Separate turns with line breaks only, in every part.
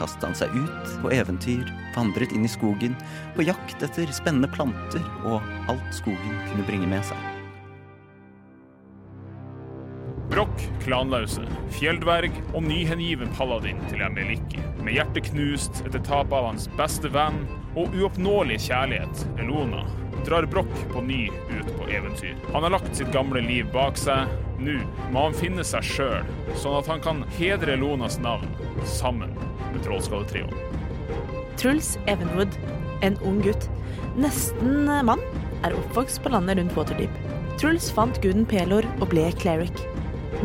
kastet han seg ut på eventyr, vandret inn i skogen, på jakt etter spennende planter og alt skogen kunne bringe med seg.
Brokk, klanlause, fjelldverg og nyhengiven paladin til Emeliki. Med hjertet knust etter tapet av hans beste venn og uoppnåelige kjærlighet, Elona, drar Brokk på ny ut på eventyr. Han har lagt sitt gamle liv bak seg. Nå må han finne seg sjøl, sånn at han kan hedre Elonas navn sammen med Trollskalletrioen.
Truls Evenwood, en ung gutt, nesten eh, mann, er oppvokst på landet rundt Waterdeep. Truls fant guden Pelor og ble cleric.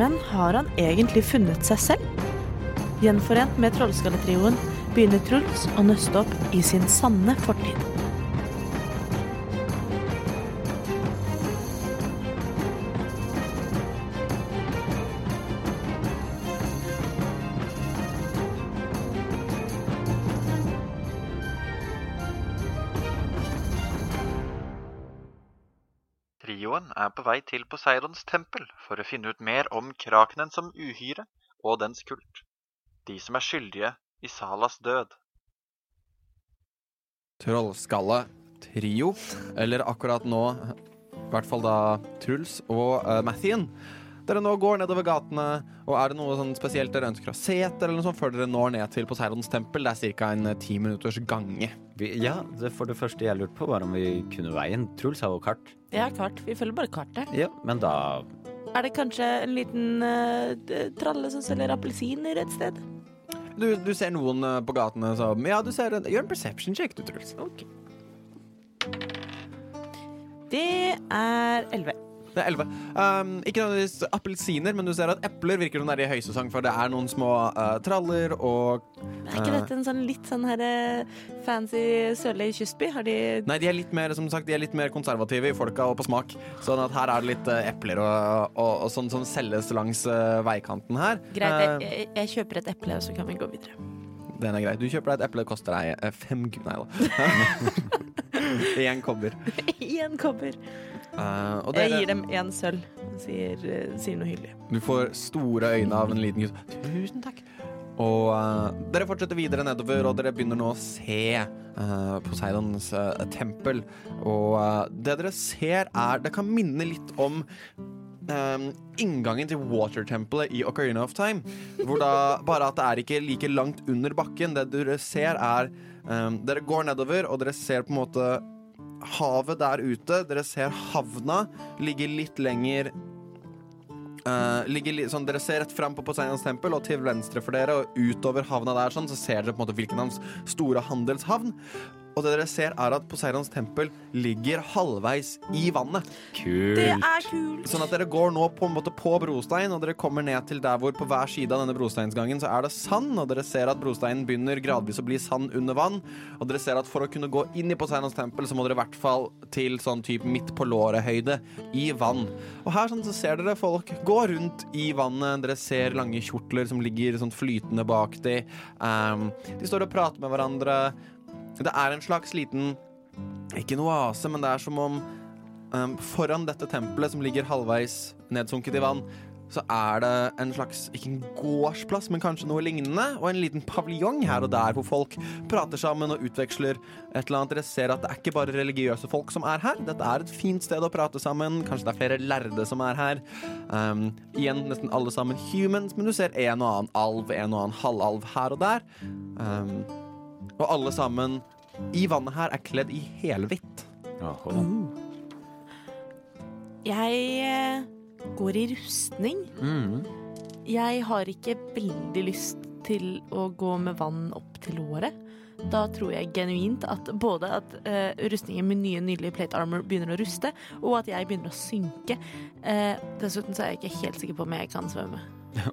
Men har han egentlig funnet seg selv? Gjenforent med Trollskalletrioen begynner Truls å nøste opp i sin sanne fortid.
Trioen er på vei til Poseidons tempel for å finne ut mer om krakenen som uhyre og dens kult. De som er skyldige i Salas død.
Trollskalle trio, eller akkurat nå, i hvert fall da Truls og uh, Mathien. Dere nå går nedover gatene, og er det noe sånn spesielt dere ønsker å se etter, eller noe sånt, før dere når ned til Poseidons tempel? Det er ca. en eh, ti minutters gange.
Vi, ja, det, for det første jeg lurte på, var om vi kunne veien. Truls har jo kart.
Jeg har kart. Vi følger bare kartet.
Ja, men da
Er det kanskje en liten eh, d- tralle som selger appelsiner et sted?
Du, du ser noen eh, på gatene som Ja, du ser en, Gjør en perception check, du, Truls.
Det er elleve.
Det er elleve. Ehm, ikke nødvendigvis appelsiner, men du ser at epler virker som det er i høysesong, for det er noen små eh, traller og
Er ikke
Eh.
dette en sånn litt sånn her eh, fancy sørlig kystby? Har de
Nei, de er litt mer, som sagt, de er litt mer konservative i folka og på smak. Sånn at her er det litt eh, epler og, og, og sånn som selges langs eh, veikanten her.
Greit,
Eh,
jeg, jeg, jeg kjøper et eple, og så kan vi gå videre.
den er grei. Du kjøper deg et eple, det koster deg eh, fem gu- Nei da. Én kobber.
Én kobber.
Eh, og
Jeg
dere-
gir dem én sølv. Sier, eh, sier noe hyggelig.
Du får store øyne av en liten gutt. Tusen takk. Og eh, dere fortsetter videre nedover, og dere begynner nå å se eh, Poseidons eh, tempel. Og eh, det dere ser, er Det kan minne litt om eh, inngangen til Water-tempelet i Ocarina of Time. Hvor da Bare at det er ikke like langt under bakken. Det dere ser, er eh, Dere går nedover, og dere ser på en måte havet der ute. Dere ser havna ligge litt lenger Eh, ligger li sånn, dere ser rett fram på Poseidons tempel, og til venstre for dere og utover havna der sånn, så ser dere på en måte hvilken hans store handelshavn. Og det dere ser, er at Poseidons tempel ligger halvveis i vannet.
Kult.
Det er kult!
Sånn at dere går nå på en måte på brostein, og dere kommer ned til der hvor på hver side av denne brosteinsgangen så er det sand, og dere ser at brosteinen begynner gradvis å bli sand under vann, og dere ser at for å kunne gå inn i Poseidons tempel, så må dere i hvert fall til sånn type midt på låret-høyde i vann. Og her sånn så ser dere folk gå rundt i vannet, dere ser lange kjortler som ligger sånn flytende bak de. Ehm, de står og prater med hverandre. Det er en slags liten ikke en oase, men det er som om Um, foran dette tempelet som ligger halvveis nedsunket i vann, så er det en slags, ikke en gårdsplass, men kanskje noe lignende, og en liten paviljong her og der hvor folk prater sammen og utveksler et eller annet. Dere ser at det er ikke bare religiøse folk som er her. Dette er et fint sted å prate sammen. Kanskje det er flere lærde som er her. Um, igjen nesten alle sammen humans, men du ser en og annen alv, en og annen halvalv her og der. Um, og alle sammen i vannet her er kledd i helhvitt.
Åhå.
Jeg eh, går i rustning.
Mm.
Jeg har ikke veldig lyst til å gå med vann opp til låret. Da tror jeg genuint at både at eh, rustningen med nye nydelige plate armor begynner å ruste, og at jeg begynner å synke. Eh, dessuten så er jeg ikke helt sikker på om jeg kan svømme.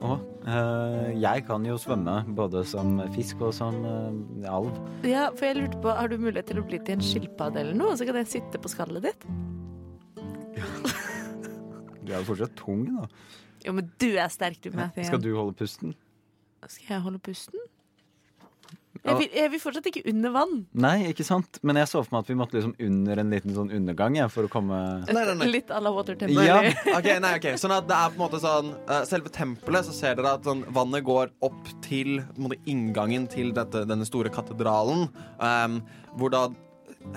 Og eh, jeg kan jo svømme både som fisk og som eh, alv.
Ja, for jeg lurte på, Har du mulighet til å bli til en skilpadde eller noe? Så kan jeg sitte på skallet ditt?
Du er jo fortsatt tung, da.
Jo, men du er sterk, du, Matthew.
Skal du holde pusten?
Skal jeg holde pusten?
Ja.
Jeg vil, jeg vil fortsatt ikke under vann.
Nei, ikke sant? Men jeg så for meg at vi måtte liksom under en liten sånn undergang jeg, for å komme
Nei, nei, nei.
Litt à la Water Temple.
Nei,
Ja.
nei. Ok, nei, ok Sånn at det er på en måte sånn eh, Selve tempelet så ser dere at sånn, vannet går opp til på en måte, inngangen til dette, denne store katedralen ehm, Hvor da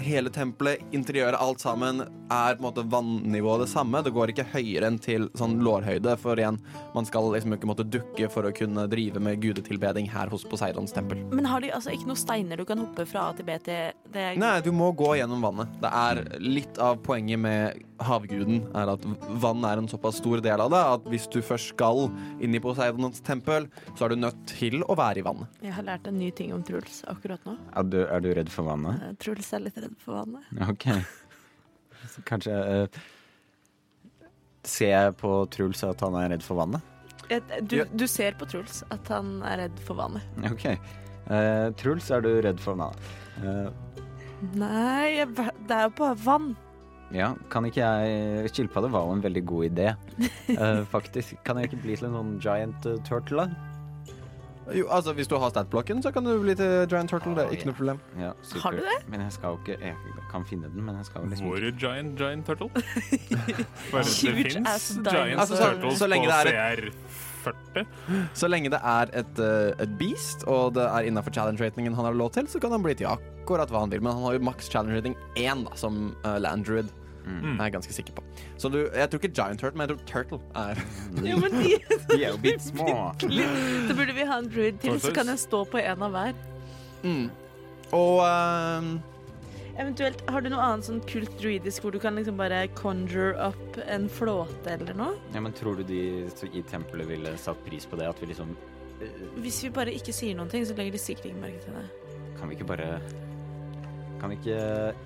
hele tempelet, interiøret, alt sammen er på en måte vannnivået det samme Det går ikke høyere enn til sånn lårhøyde For igjen, man skal liksom ikke måtte dukke for å kunne drive med gudetilbeding her hos Poseidons tempel
Men har de altså ikke noen steiner du kan hoppe fra A til B til det er...
Nei, du må gå gjennom vannet. Det er litt av poenget med havguden er at vann er en såpass stor del av det at hvis du først skal inn i Poseidons tempel, så er du nødt til å være i vannet.
Jeg har lært en ny ting om Truls akkurat nå.
er du, er du redd for vannet?
Eh, Truls er litt redd for vannet.
OK. Så Kanskje eh, Ser jeg på Truls at han er redd for vannet?
Eh, Du, du ser på Truls at han er redd for vannet.
OK. Eh, Truls, er du redd for vannet? Eh,
Nei, jeg, ba- det er jo bare vann.
ja, kan ikke jeg Skilpadde var jo en veldig god idé, eh, faktisk. Kan jeg ikke bli til en sånn giant eh, turtle, da?
Jo, altså, hvis du har statblokken, så kan du bli til Giant Turtle. Det er ikke noe problem.
Ja, supert.
Har du det?
Men jeg skal jo ikke Jeg kan finne den, men jeg skal jo liksom
Vår giant giant turtle. Bare, det
Huge ass
fins
dinosaur.
giant
Altså, så-
turtles
så lenge
på
det
CR40.
Så lenge det er et, eh, et beast, og det er innafor challenge-ratingen han har lov til, så kan han bli til akkurat hva han vil. Men han har jo maks challenge-rating én, da, som uh, Landruid.
Mm.
er jeg ganske sikker på. Så du, jeg tror ikke Giant Turtle, men jeg tror Turtle er
Jo, men de,
De er jo bitte små.
Så burde vi ha en druid til, så kan jeg stå på en av hver.
mm. Og ehm,
Eventuelt, har du noe annet sånn kult druidisk hvor du kan liksom bare conjure opp en flåte eller noe?
Ja, men tror du de så- i tempelet ville satt pris på det? At vi liksom eh,
Hvis vi bare ikke sier noen ting, så legger de sikkert ikke merke til det.
Kan vi ikke bare Kan ikke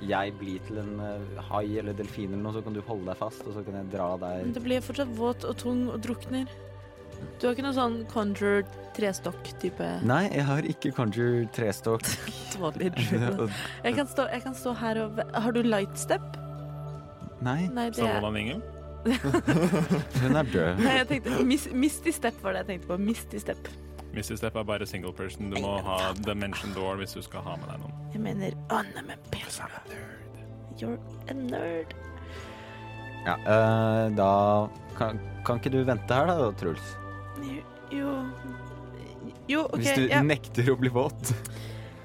jeg bli til en eh, hai eller delfin eller noe, så kan du holde deg fast, og så kan jeg dra
Men
deg
det blir fortsatt våt og tung og drukner. Du har ikke noe sånn conjure trestokk-type
Nei, jeg har ikke conjure trestokk.
dårlig druid? Jeg kan stå, jeg kan stå her og ve- Har du lightstep?
Nei,
Nei, det
Står
er
man ingen?
hun er død.
Nei, jeg tenkte mis, Misty step var det jeg tenkte på. Misty step.
Mrs. Step er bare single person. Du må ha dimension door hvis du skal ha med deg noen.
Jeg mener ornament person. You're a nerd.
Ja, eh, da kan, kan ikke du vente her da, Truls?
Jo- Jo Jo, OK.
Hvis du
ja.
nekter å bli våt.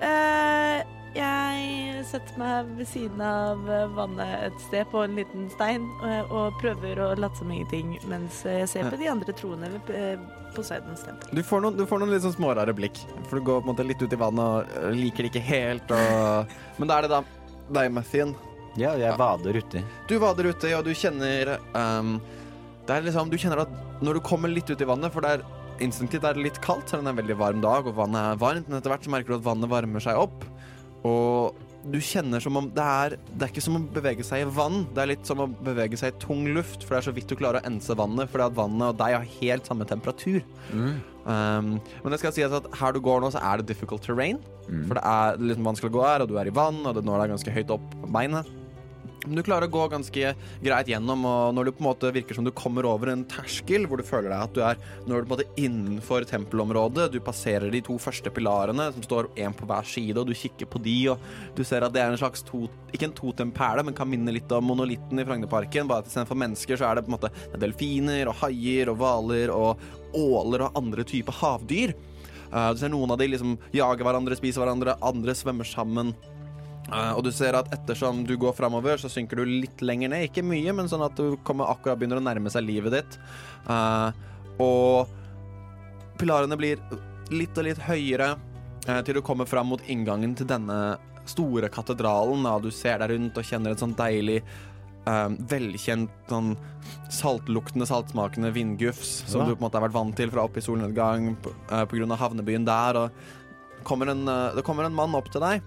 Eh, jeg setter meg ved siden av eh, vannet et sted på en liten stein eh, og prøver å late som ingenting mens eh, jeg ser på de andre troende ved eh, Poseidons tempel.
Du får noen, du får noen litt sånn smårare blikk. For du går på en måte litt ut i vannet og øh, liker det ikke helt. Og... Men da er det da deg, Mathien.
Ja, jeg vader uti.
Du vader uti, og du kjenner ehm, Det er liksom, Du kjenner at når du kommer litt ut i vannet For det er instinktivt er det litt kaldt, selv om det er en veldig varm dag, og vannet er varmt, men etter hvert så merker du at vannet varmer seg opp. Og du kjenner som om det er Det er ikke som å bevege seg i vann, det er litt som å bevege seg i tung luft, for det er så vidt du klarer å ense vannet, fordi at vannet og deg har helt samme temperatur.
Mm.
Um, men det skal sies at her du går nå, så er det difficult terrain. For det er liksom vanskelig å gå her, og du er i vann, og det når deg ganske høyt opp på beinet. Men du klarer å gå ganske greit gjennom, og når du på en måte virker som du kommer over en terskel, hvor du føler deg at du er Nå er du på en måte innenfor tempelområdet, du passerer de to første pilarene, som står én på hver side, og du kikker på de, og du ser at det er en slags to, Ikke en totempæle, men kan minne litt om monolitten i Frognerparken, bare at istedenfor mennesker, så er det på en måte det er delfiner og haier og hvaler og åler og andre typer havdyr. Eh, du ser noen av de liksom jager hverandre, spiser hverandre, andre svømmer sammen. Eh, og du ser at ettersom du går framover, så synker du litt lenger ned. Ikke mye, men sånn at du kommer akkurat begynner å nærme seg livet ditt. Eh, og pilarene blir litt og litt høyere eh, til du kommer fram mot inngangen til denne store katedralen. Da. Du ser deg rundt og kjenner et sånn deilig, eh, velkjent sånn saltluktende, saltsmakende vindgufs som
Ja.
du på en måte har vært vant til fra oppe i solnedgang p- eh, på grunn av havnebyen der. Og kommer en, eh, det kommer en mann opp til deg.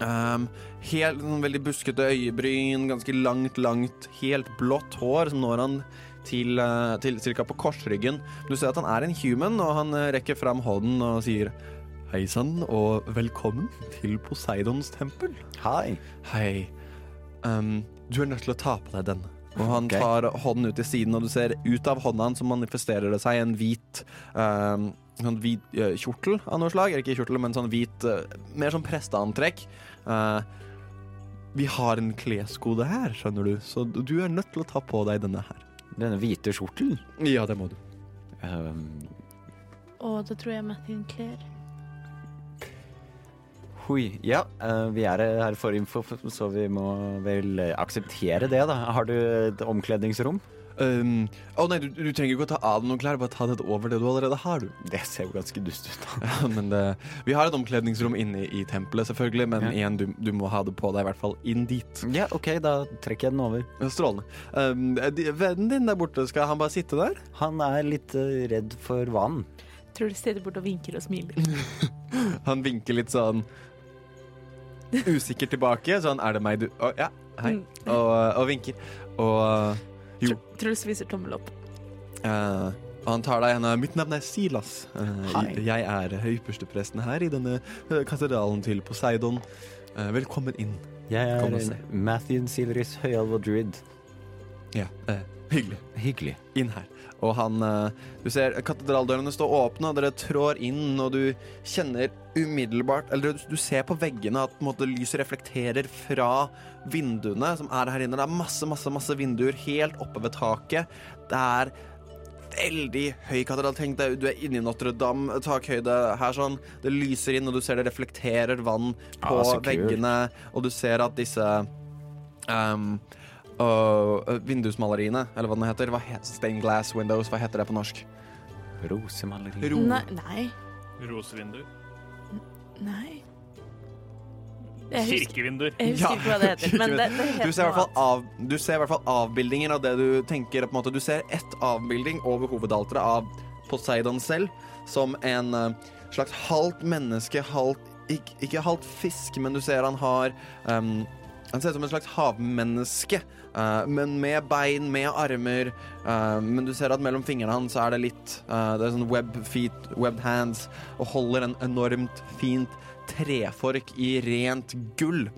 Ehm, helt sånn veldig buskete øyebryn, ganske langt, langt, helt blått hår som når han til, eh, til cirka på korsryggen. Du ser at han er en human, og han eh, rekker fram hånden og sier Hei sann, og velkommen til Poseidons tempel.
Hei.
Hei. Ehm, du er nødt til å ta på deg den. Og han
Ok.
tar hånden ut til siden, og du ser ut av hånda hans så manifesterer det seg en hvit ehm, Sånn hvit eh, kjortel av noe slag. Eller ikke kjortel, men sånn hvit eh, Mer sånn presteantrekk. Eh, vi har en kleskode her, skjønner du, så du du er nødt til å ta på deg denne her.
Denne hvite skjorten.
Ja, det må du.
Ehm,
Å, det tror jeg Mathin kler.
Hui. Ja, eh, vi er her for info, så vi må vel eh, akseptere det, da. Har du et omkledningsrom?
Ehm, Å nei, du, du trenger ikke å ta av deg noen klær, bare ta det over det du allerede har, du.
Det ser jo ganske dust ut. da.
Ja, men det, vi har et omkledningsrom inne i tempelet, selvfølgelig, men
Ja.
igjen, du, du må ha det på deg, i hvert fall inn dit.
Ja, OK, da trekker jeg den over.
Strålende. Um, de- Vennen din der borte, skal han bare sitte der?
Han er litt eh, redd for vann.
Truls sitter borte og vinker og smiler.
Han vinker litt sånn usikkert tilbake, sånn er det meg du Å, Ja, hei.
Mm.
Og, og vinker. Og Jo.
Tr- Truls viser tommel opp.
eh, han tar deg i henda. Mitt navn er Silas. Eh,
Hei.
jeg er ypperstepresten her i denne eh, katedralen til Poseidon. Eh, velkommen inn.
Jeg
Kom og
er
se.
Matthew Silris Høyalv og Druid.
Ja, eh, hyggelig.
Hyggelig.
inn her. Og han eh, Du ser katedraldørene står åpne, og dere trår inn, og du kjenner umiddelbart Eller du, du ser på veggene at på en måte, lyset reflekterer fra vinduene som er her inne. Det er masse, masse, masse vinduer helt oppe ved taket. Det er veldig høy katedral. Tenk deg, du er inne i Notre-Dame, takhøyde her sånn. Det lyser inn, og du ser det reflekterer vann på
Ah, så kult.
veggene, og du ser at disse ehm, og eh, vindusmaleriene, eller hva den heter. Hva he Stained glass windows, hva heter det på norsk?
Rosemaleri.
Ro.
Nei, nei.
Rosevinduer.
nei. Jeg husker,
Kirkevinduer.
jeg husker ikke hva det heter, men det, det heter
Du ser i
noe
hvert fall,
annet.
av, du ser i hvert fall avbildingen av det du tenker. På en måte. Du ser ett avbilding over hovedalteret av Poseidon selv, som en eh, slags halvt menneske, halvt ikke, ikke halvt fisk, men du ser han har ehm, Han ser ut som et slags havmenneske, eh, men med bein, med armer. eh, men du ser at mellom fingrene hans så er det litt eh, Det er sånn web feet, webbed hands, og holder en enormt fint trefork i rent gull.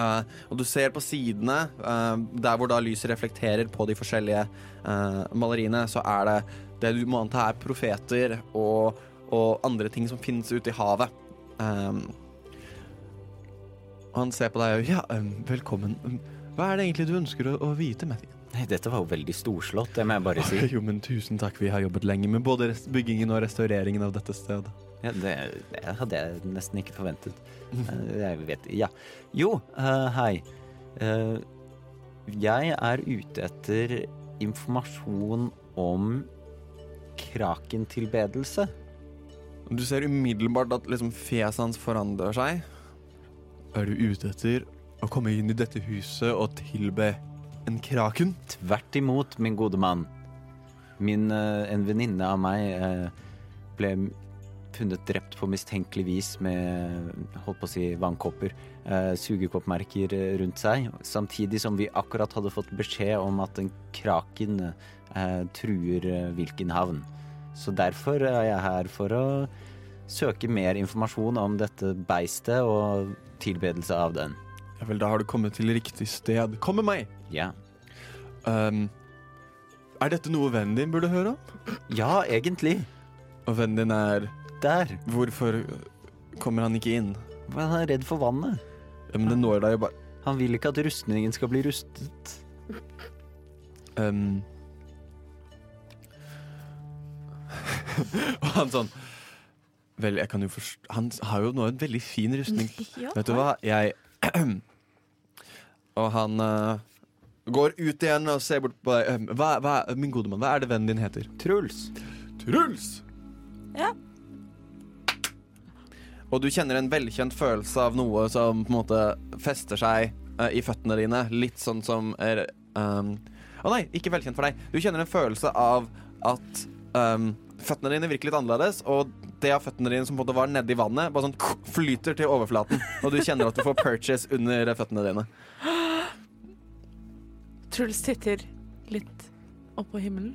Eh, og du ser på sidene, eh, der hvor da lyset reflekterer på de forskjellige eh, maleriene, så er det det du må anta er profeter og, og andre ting som finnes ute i havet. Ehm, og han ser på deg og Ja, em, velkommen. Em, Hva er det egentlig du ønsker å, å vite, Matthew?
Nei, dette var jo veldig storslått, det må jeg bare si.
Jo, men tusen takk. Vi har jobbet lenge med både rest- byggingen og restaureringen av dette stedet.
Ja, det, det hadde jeg nesten ikke forventet. Eh, Jeg vet Ja. Jo, eh, hei. Eh, Jeg er ute etter informasjon om krakentilbedelse.
Du ser umiddelbart at liksom fjeset hans forandrer seg. Er du ute etter å komme inn i dette huset og tilbe en kraken?
Tvert imot, min gode mann. Min, eh, en venninne av meg eh, ble funnet drept på mistenkelig vis med holdt på å si vannkopper, eh, sugekoppmerker eh, rundt seg, samtidig som vi akkurat hadde fått beskjed om at en kraken eh, truer eh, hvilken havn. Så derfor er jeg her for å søke mer informasjon om dette beistet og tilbedelse av den.
Ja vel, da har du kommet til riktig sted. Kom med meg!
Ja.
Ehm, er dette noe vennen din burde høre om?
ja, egentlig.
Og vennen din er
Der.
Hvorfor kommer han ikke inn?
Men han er redd for vannet.
Ja, men det når deg jo bare
Han vil ikke at rustningen skal bli rustet.
Ehm. Og han sånn Vel, jeg kan jo forstå Han har jo nå en veldig fin rustning.
Ja.
Vet du hva, jeg Og han eh, går ut igjen og ser bort på deg. Eh, hva, hva, min gode mann, hva er det vennen din heter?
Truls.
Truls!
Ja.
Og du kjenner en velkjent følelse av noe som på en måte fester seg eh, i føttene dine. Litt sånn som er, um, Å nei, ikke velkjent for deg. Du kjenner en følelse av at um, føttene dine virker litt annerledes, og det av føttene dine som på en måte var nedi vannet, bare sånn flyter til overflaten. Og du kjenner at du får purchase under føttene dine.
Truls sitter litt opp på himmelen.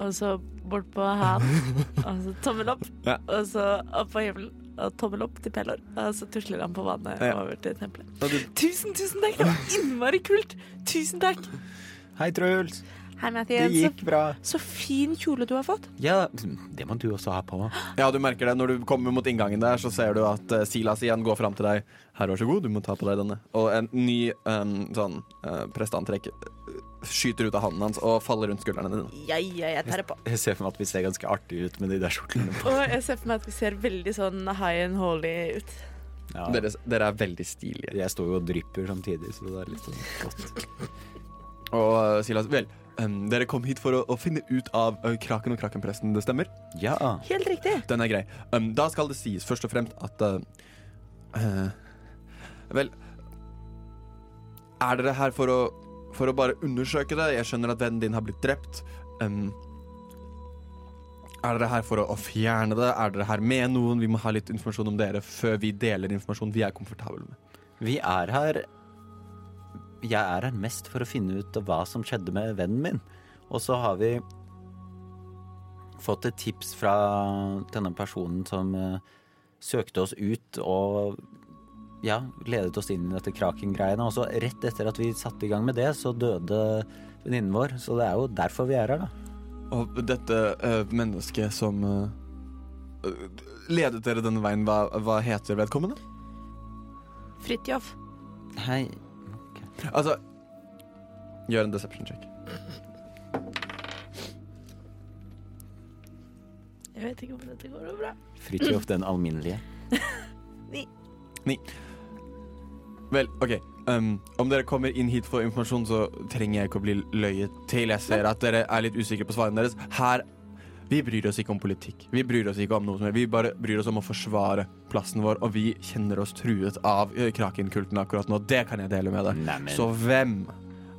Og så bort på hælen. Og så tommel opp.
Ja.
Og så opp på himmelen. Og tommel opp til Pelor. Og så tusler han på vannet
Ja.
over til tempelet.
Og du,
Tusen, tusen takk! Det var innmari kult! Tusen takk!
Hei, Truls.
Hei,
Det
Mathias.
gikk bra.
Så, så fin kjole du har fått.
Ja, det må du også ha på.
ja, du merker det når du kommer mot inngangen der, så ser du at eh, Silas igjen går fram til deg. Her, vær så god, du må ta på deg denne. Og en ny em, sånn eh, presteantrekk eh, skyter ut av hånden hans og faller rundt skuldrene dine.
Ja, ja, jeg tar det på.
Jeg ser for meg at vi ser ganske artige ut med de der skjortene.
Og jeg ser for meg at vi ser veldig sånn high and holy ut.
Ja,
Dere, dere er veldig stilige.
jeg står jo og drypper samtidig, så det er litt sånn godt.
Og eh, Silas, vel, em, dere kom hit for å, å finne ut av eh, Kraken og Krakenpresten, det stemmer?
Ja.
Helt riktig.
Den er grei. Um, da skal det sies først og fremst at uh, eh, Vel Er dere her for å, for å bare undersøke det? Jeg skjønner at vennen din har blitt drept. Um, er dere her for å, å fjerne det? Er dere her med noen? Vi må ha litt informasjon om dere før vi deler informasjon vi er komfortable med.
Vi er her Jeg er her mest for å finne ut av hva som skjedde med vennen min. Og så har vi fått et tips fra denne personen som eh, søkte oss ut og ja, ledet oss inn i dette Kraken-greiene. Og så rett etter at vi satte i gang med det, så døde venninnen vår. Så det er jo derfor vi er her, da.
Og dette eh, mennesket som eh, eh, Ledet dere denne veien? Hva, hva heter vedkommende?
Fridtjof.
Hei.
Altså Gjør en deception check.
Jeg vet ikke om dette går noe bra.
Fridtjof den alminnelige.
Vel, ok. Um, om dere kommer inn hit for informasjon, så trenger jeg ikke å bli løyet til. Jeg ser at dere er litt usikre på svarene deres. Her Vi bryr oss ikke om politikk. Vi bryr oss ikke om noe som helst. Vi bare bryr oss om å forsvare plassen vår, og vi kjenner oss truet av eh, Kraken-kulten akkurat nå. Det kan jeg dele med deg.
Neimen.
Så hvem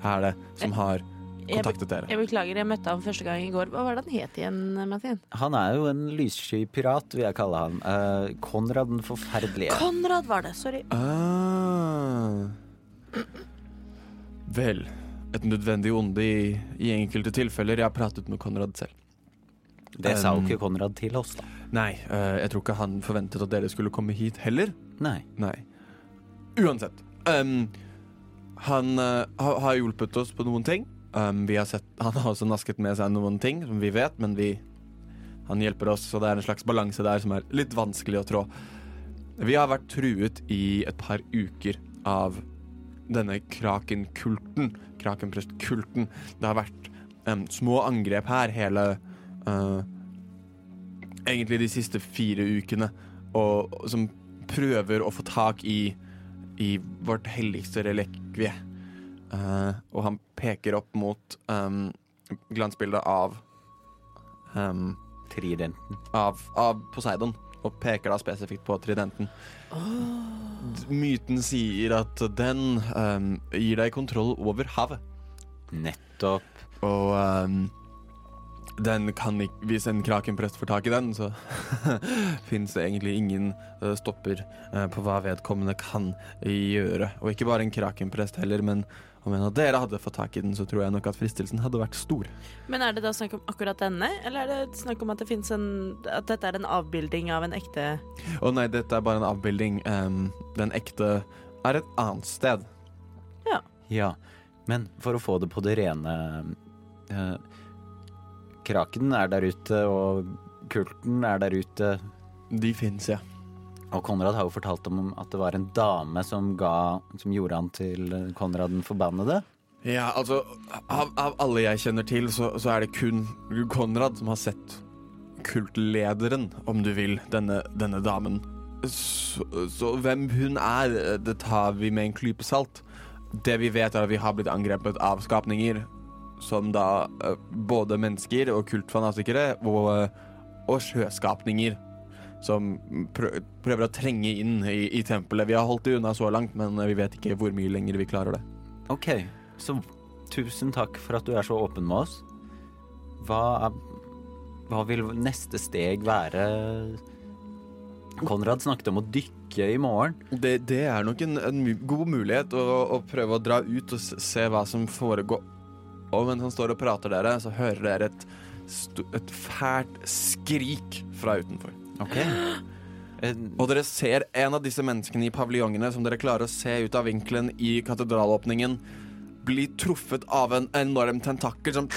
er det som har
Eh, Jeg, be-
kontaktet dere?
jeg beklager, jeg møtte ham første gang i går. Hva var det han het igjen, Mathien?
Han er jo en lyssky pirat, vil jeg kalle ham. Eh, Konrad den forferdelige.
Konrad var det, sorry.
Ah. Vel, et nødvendig onde i, i enkelte tilfeller. Jeg har pratet med Konrad selv.
Det sa jo ikke Konrad til oss, da.
Nei, eh, jeg tror ikke han forventet at dere skulle komme hit heller.
Nei.
Nei. Uansett. em, han eh, ha, har hjulpet oss på noen ting. Em, vi har sett, han har også nasket med seg noen ting som vi vet, men vi Han hjelper oss, så det er en slags balanse der som er litt vanskelig å trå. Vi har vært truet i et par uker av denne krakenkulten. Krakenprestkulten. Det har vært em, små angrep her hele eh, egentlig de siste fire ukene, og, og som prøver å få tak i, i vårt helligste relikvie. Eh, og han peker opp mot um, glansbildet av, em,
Tridenten.
av av Poseidon, og peker da spesifikt på tridenten. D- Myten sier at den em, gir deg kontroll over havet.
Nettopp.
Og ehm, den kan ikke Hvis en krakenprest får tak i den, så fins det egentlig ingen eh, stopper eh, på hva vedkommende kan gjøre. Og ikke bare en krakenprest heller, men om en av dere hadde fått tak i den, så tror jeg nok at fristelsen hadde vært stor.
Men er det da snakk om akkurat denne, eller er det snakk om at det finnes en At dette er en avbilding av en ekte
Å nei, dette er bare en avbilding. Ehm, den ekte er et annet sted.
Ja. Men for å få det på det rene eh, Kraken er der ute, og kulten er der ute.
De fins, ja.
Og Konrad har jo fortalt om at det var en dame som, ga, som gjorde han til eh, Konrad den forbannede.
Ja, altså Av, av alle jeg kjenner til, så, så er det kun Konrad som har sett kultlederen, om du vil, denne, denne damen. Så, så hvem hun er, det tar vi med en klype salt. Det vi vet, er at vi har blitt angrepet av skapninger. Som da eh, både mennesker og kultfanatikere og, eh, og sjøskapninger. Som prø- prøver å trenge inn i, i tempelet. Vi har holdt det unna så langt, men eh, vi vet ikke hvor mye lenger vi klarer det.
Ok, så tusen takk for at du er så åpen med oss. Hva, er, hva vil neste steg være? Konrad snakket om å dykke i morgen.
Det, det er nok en, en mu- god mulighet å, å prøve å dra ut og s- se hva som foregår Og mens han står og prater dere, så hører dere et, sto- et fælt skrik fra utenfor.
Ok. Eh, En-
Og dere ser en av disse menneskene i paviljongene som dere klarer å se ut av vinkelen i katedralåpningen, bli truffet av en enorm tentakkel som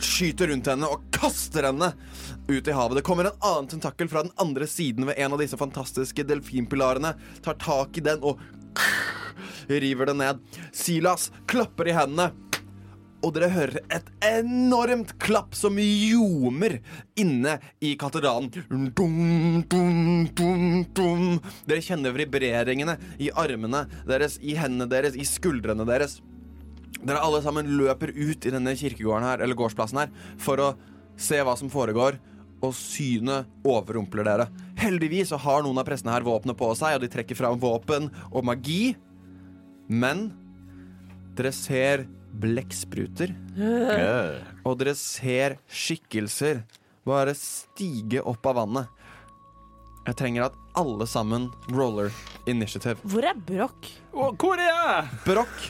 skyter rundt henne og kaster henne ut i havet. Det kommer en annen tentakkel fra den andre siden ved en av disse fantastiske delfinpilarene, tar tak i den og river den ned. Silas klapper i hendene. Og dere hører et enormt klapp som ljomer inne i katedralen. Dum, dum, dum, dum. Dere kjenner vibreringene i armene deres, i hendene deres, i skuldrene deres. Dere alle sammen løper ut i denne kirkegården her, eller gårdsplassen her, for å se hva som foregår, og synet overrumpler dere. Heldigvis så har noen av prestene her våpenet på seg, og de trekker fram våpen og magi, men dere ser blekkspruter, og dere ser skikkelser bare stige opp av vannet. Jeg trenger at alle sammen roller initiative.
Hvor er Broch?
Å, hvor er jeg?
Broch,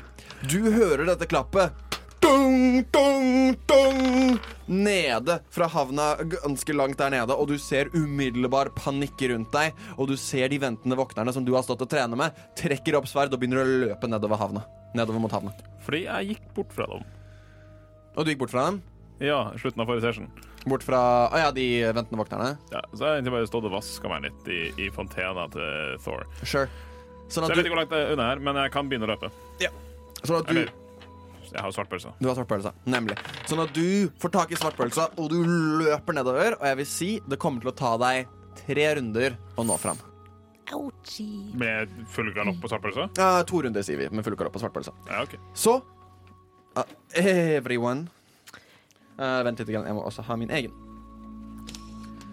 du hører dette klappet. Dung, dung, dung! Nede fra havna, ganske langt der nede, og du ser umiddelbar panikk rundt deg. Og du ser de ventende vokterne som du har stått og trener med, trekker opp sverd og begynner å løpe nedover havna. Nedover mot havna.
Fordi jeg gikk bort fra dem.
Og du gikk bort fra dem?
Ja, slutten av forrige session.
Bort fra Å ja, de ventende vokterne?
Ja, så jeg har egentlig bare stått og vaska meg litt i, i fontena til Thor.
Sure. Sånn
Så
at
jeg vet
du,
ikke hvor langt det er unna her, men jeg kan begynne å løpe.
sånn at du
Eller Jeg har jo svartpølse.
Du har svartpølsa, nemlig. Sånn at du får tak i svartpølsa, og du løper nedover. Og jeg vil si det kommer til å ta deg tre runder å nå fram.
Ouchie.
Med full galopp på svartpølse?
Ja, to runder, sier vi, med full kalopp på svartpølsa.
Ja, OK.
Så uh, Everyone. Eh, vent litt, grann, jeg må også ha min egen.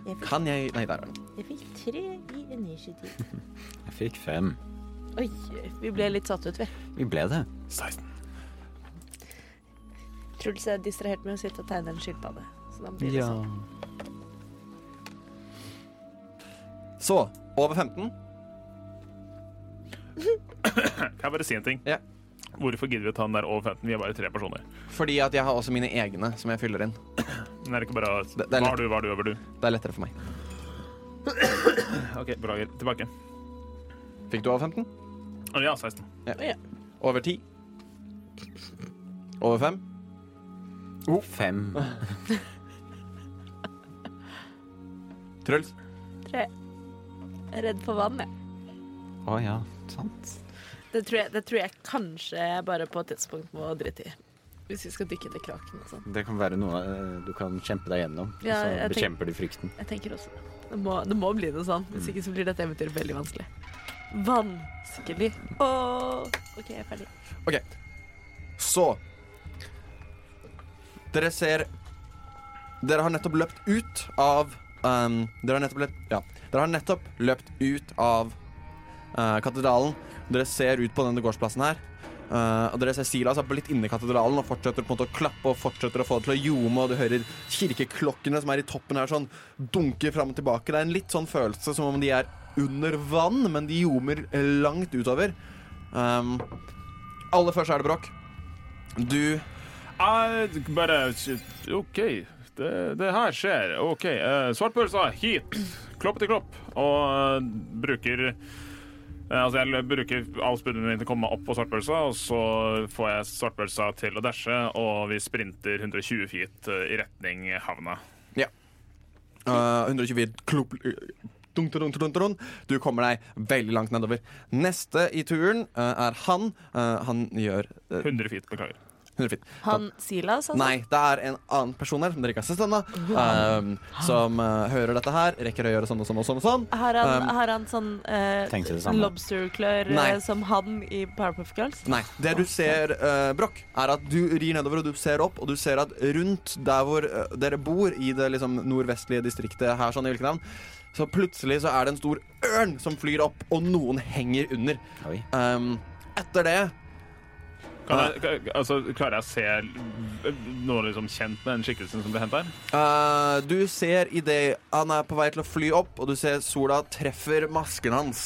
Jeg fikk,
Kan jeg Nei, der er den.
jeg fikk tre i initiativ.
Jeg fikk fem.
Oi, vi ble litt satt ut, vi.
Vi ble det.
16.
Truls er distrahert med å sitte og tegne en skilpadde. Så da blir det
Ja.
sånn.
Så over 15.
Kan jeg bare si en ting?
Ja.
Hvorfor gidder vi å ta den der over 15? Vi er bare tre personer.
Fordi at jeg har også mine egne som jeg fyller inn.
Den er ikke bare
Det- det er
Hva har du, hva har du, over du?
Det er lettere for meg.
OK, beklager. Tilbake.
Fikk du over 15?
Å, Ja, 16.
Over 10? Over 5?
Fem.
Truls?
sånn. Jeg er redd for vann, jeg.
Å ja, sant.
Det tror jeg, det tror jeg kanskje jeg bare på et tidspunkt må drite i. Hvis vi skal dykke til kraken og sånn.
Det kan være noe eh, du kan kjempe deg gjennom, og
Ja,
så
jeg tenk-
bekjemper du frykten.
Jeg tenker også det. Det må, det må bli noe sånn.
Mm.
Hvis ikke så blir dette eventyret veldig vanskelig. Vanskelig. Åh. OK, jeg er ferdig.
OK. Så Dere ser Dere har nettopp løpt ut av ehm, Dere har nettopp løpt Ja. Dere har nettopp løpt ut av eh, katedralen. Dere ser ut på denne gårdsplassen her. eh, og dere ser Silas har blitt inne i katedralen og fortsetter på en måte å klappe og fortsetter å få det til å ljome, og du hører kirkeklokkene som er i toppen her, sånn dunke fram og tilbake. Det er en litt sånn følelse som om de er under vann, men de ljomer langt utover. Um, Aller først er det Broch. Du
Jeg Ah, bare shit, OK. Det, det her skjer. OK. eh, svartpølsa hit. Klopp til klopp. Og eh, bruker eh, Altså, jeg bruker avspuddet min til å komme meg opp på svartpølsa, og så får jeg svartpølsa til å dashe, og vi sprinter 120 feet eh, i retning havna.
eh, 124 klump dunk, dunk, dunk, dunk, dunk. Du kommer deg veldig langt nedover. Neste i turen eh, er han. Eh, han gjør eh,
100 feet, beklager.
100 feet.
Han Silas, altså?
Nei, det er en annen person her som dere ikke har sett ennå, ehm, som eh, hører dette her. Rekker å gjøre sånn og sånn og sånn. og sånn.
Har han,
Um,
har han sånn eh,
Tenkte det samme.
lobsterklør eh,
Nei.
som han i Powerpuff Girls?
Nei. Det du ser, uh, Broch, er at du rir nedover og du ser opp, og du ser at rundt der hvor eh, dere bor, i det liksom nordvestlige distriktet her, sånn i Vilkenhavn, så plutselig så er det en stor ørn som flyr opp, og noen henger under.
Oi.
Um, etter det
Kan jeg, kan- altså, klarer jeg å se noe liksom kjent med den skikkelsen som ble hentet her?
Eh, du ser idet han er på vei til å fly opp, og du ser sola treffer masken hans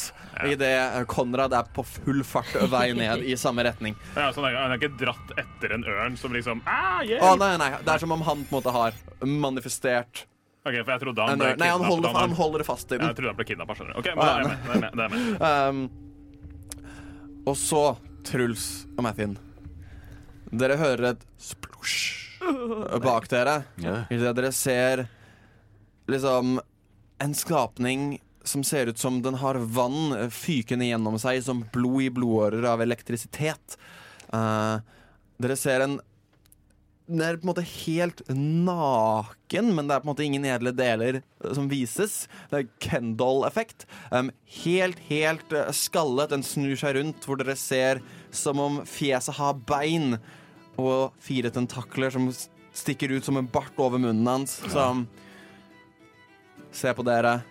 idet Konrad er på full fart vei ned i samme retning.
Ja, sånn, er- han er ikke dratt etter en ørn som liksom ah, yeah.
Å, nei, nei, Det er som om han på en måte har manifestert
Ok, for jeg trodde han
en
ble
ørn. Nei, han
kidnappet
holder,
av en
han
ørn.
holder fast i
Jeg
den.
trodde han ble kidnappet, skjønner du. Ok, men
Å,
da
ja,
er jeg med. Da er jeg med, da er jeg med.
Um, og så, Truls og Mathien. Dere hører et splosj bak dere
Ja.
idet dere ser liksom en skapning som ser ut som den har vann fykende gjennom seg, som blod i blodårer av elektrisitet. Eh, dere ser en Den er på en måte helt naken, men det er på en måte ingen edle deler eh, som vises. Det er Kendal-effekt. Um, helt, helt eh, skallet. Den snur seg rundt, hvor dere ser som om fjeset har bein og fire tentakler som s- stikker ut som en bart over munnen hans, som ser på dere.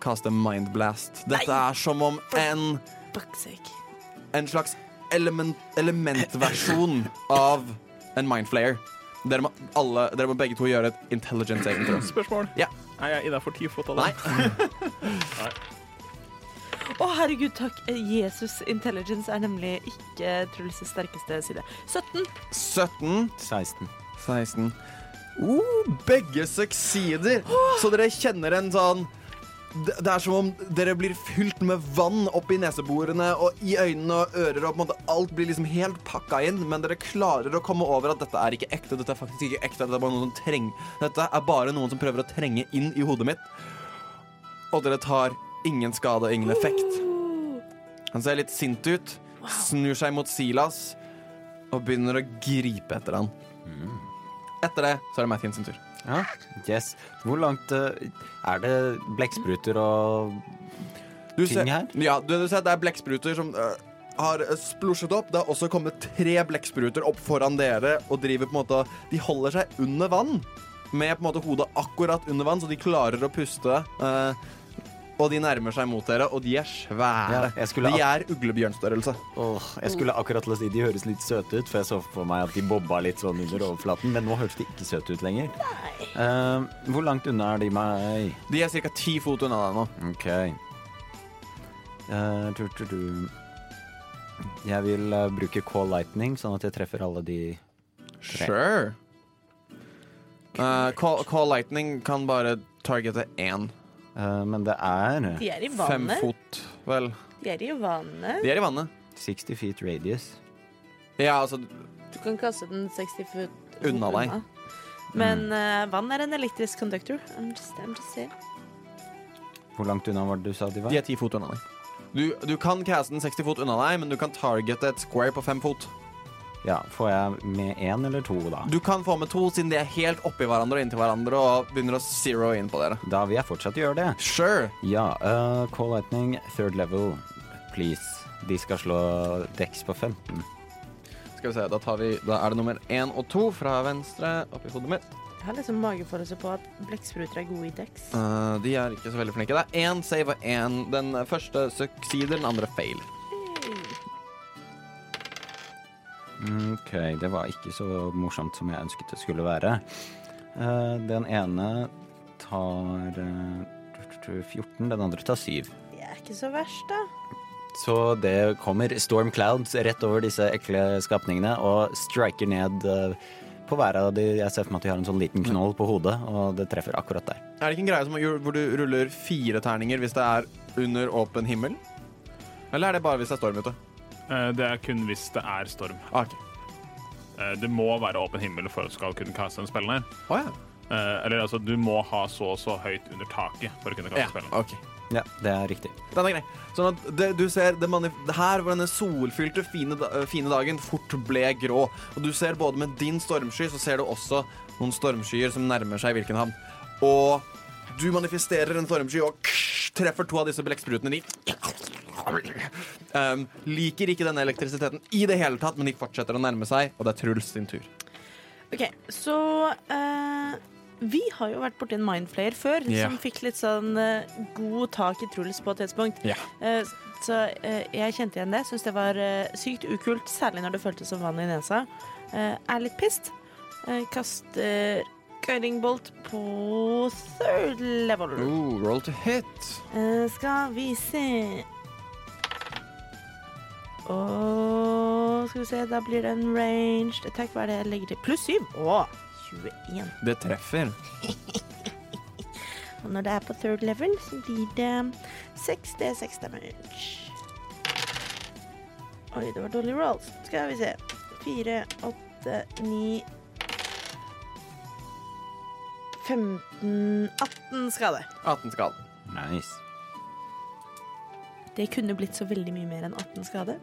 Kaste mindblast. Dette er som om en
Baksek.
en slags element, elementversjon av en mindflayer. Dere må, alle, dere må begge to gjøre et intelligent saving throw.
Spørsmål?
Ja.
Er jeg innafor ti fot av
Nei.
det?
Å, herregud, takk. Eh, Jesus intelligence er nemlig ikke Truls' sterkeste side. 17.
17,
16.
16. Uh, begge succeeder! Så dere kjenner en sånn det det er som om dere blir fylt med vann opp i neseborene og i øynene og ører. og på en måte Alt blir liksom helt pakka inn, men dere klarer å komme over at dette er ikke ekte. Dette er faktisk ikke ekte, dette er bare noen som treng Dette er bare noen som prøver å trenge inn i hodet mitt. Og dere tar ingen skade og ingen effekt. Han ser litt sint ut, snur seg mot Silas og begynner å gripe etter han. Etter det så er det Mathien sin tur.
Ja, yes. Hvor langt eh, Er det blekkspruter og
Du
Ting her?
Ja, du, du ser at det er blekkspruter som øh, har øh, splosjet opp. Det har også kommet tre blekkspruter opp foran dere og driver på en måte De holder seg under vann, med på en måte hodet akkurat under vann, så de klarer å puste. øh, og de nærmer seg mot dere, og de er svære.
Ja, jeg skulle
de er uglebjørnstørrelse.
Åh, jeg skulle akkurat til å si de høres litt søte ut, for jeg så for meg at de bobba litt sånn under overflaten, men nå høres de ikke søte ut lenger. Eh, hvor langt unna er de meg?
De er ca. ti fot unna deg nå.
Ok. Eh, tu, tu, tu. Jeg vil eh, bruke call lightning, sånn at jeg treffer alle de
Sure. Øh, call, call Lightning kan bare targete én.
Eh, Men det er
De er i
Fem
vannet.
fot, vel.
De er i vannet.
De er i vannet.
60 feet radius.
Ja, altså
Du kan kaste den 60 foot
Unna deg. Mm.
Men eh, vann er en elektrisk conductor. I'm just, I'm just saying.
Hvor langt unna var det du sa de var?
De er ti fot unna deg. Du, du kan caste den 60 fot unna deg, men du kan targete et square på fem fot.
Ja, Får jeg med én eller to, da?
Du kan få med to, siden de er helt oppi hverandre og inntil hverandre og begynner å zero inn på dere.
Da vil jeg fortsatt gjøre det.
Sure.
Ja, eh, call lightning, third level, please. De skal slå dex på 15.
Skal vi se, da, tar vi, da er det nummer én og to fra venstre oppi hodet mitt.
Jeg har liksom magefølelse på at blekkspruter er gode i dex.
Eh, de er ikke så veldig flinke. Det er én save og én. Den første succeeder, den andre fail.
Ok, det var ikke så morsomt som jeg ønsket det skulle være. Eh, Den ene tar eh, 14, den andre tar 7.
Det er ikke så verst, da.
Så det kommer storm clouds rett over disse ekle skapningene og striker ned eh, på hver av de. Jeg ser for meg at de har en sånn liten knoll på hodet, og det treffer akkurat der.
Er det ikke en greie som, hvor du ruller fire terninger hvis det er under åpen himmel? Eller er det bare hvis det er storm ute?
Eh, Det er kun hvis det er storm.
Ah, ok.
Eh, Det må være åpen himmel for at du skal kunne kaste den spillen her.
Å ja.
Eh, Eller altså, du må ha så og så høyt under taket for å kunne kaste
ja.
spillen.
ok.
Ja, det er riktig.
Den er grei. Sånn at det, du ser det, manif det her hvor denne solfylte, fine, da- øh, fine dagen fort ble grå. Og du ser både med din stormsky, så ser du også noen stormskyer som nærmer seg hvilken havn. Og du manifesterer en stormsky og treffer to av disse blekksprutene. De um, liker ikke denne elektrisiteten i det hele tatt, men de fortsetter å nærme seg, og det er Truls sin tur.
OK, så eh, Vi har jo vært borti en mindflayer før,
Ja.
som fikk litt sånn eh, god tak i Truls på et tidspunkt.
Ja.
Eh, så eh, jeg kjente igjen det. Syns det var eh, sykt ukult, særlig når det føltes som vann i nesa. Eh, er litt pissed. Eh, kaster guiding bolt på third level.
Oh, roll to hit.
Eh, skal vi se Og skal vi se, da blir det en ranged attack. Hva er det jeg legger til? Pluss syv. Å, 21.
Det treffer.
Og når det er på third level, så blir det 6 D6 damage. Oi, det var dårlig rolls. Skal vi se. 4, 8, 9 15 18 skade.
18 skade.
Nice.
Det kunne blitt så veldig mye mer enn 18 skade,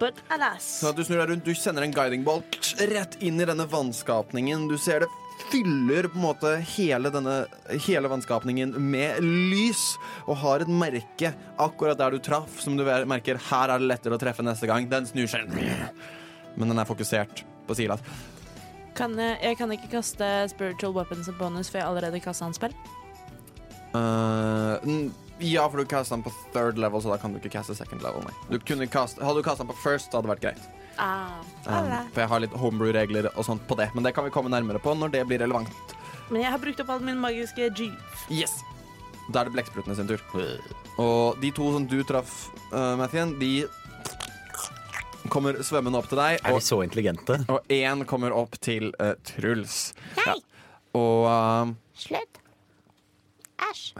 but alas.
Sånn at du snur deg rundt, du sender en guiding ball rett inn i denne vannskapningen. Du ser det fyller på en måte hele denne hele vannskapningen med lys, og har et merke akkurat der du traff, som du merker her er det lettere å treffe neste gang. Den snur seg, men den er fokusert på Silas.
Kan jeg, jeg kan ikke kaste spiritual weapons som bonus, for jeg har allerede kasta en spill.
Eh, n- ja, for du kastet den på third level, så da kan du ikke kaste second level, nei. Du kunne kaste, hadde du kastet den på first, så hadde det vært greit.
Ah,
Um, for jeg har litt homebrew-regler og sånt på det, men det kan vi komme nærmere på når det blir relevant.
Men jeg har brukt opp all min magiske G.
Yes Da er det blekksprutene sin tur. Og de to som du traff, uh, Mathien, de kommer svømmende opp til deg.
Er
Og
vi så intelligente?
og én kommer opp til eh, Truls. Ja. Og eh, Slutt. Æsj.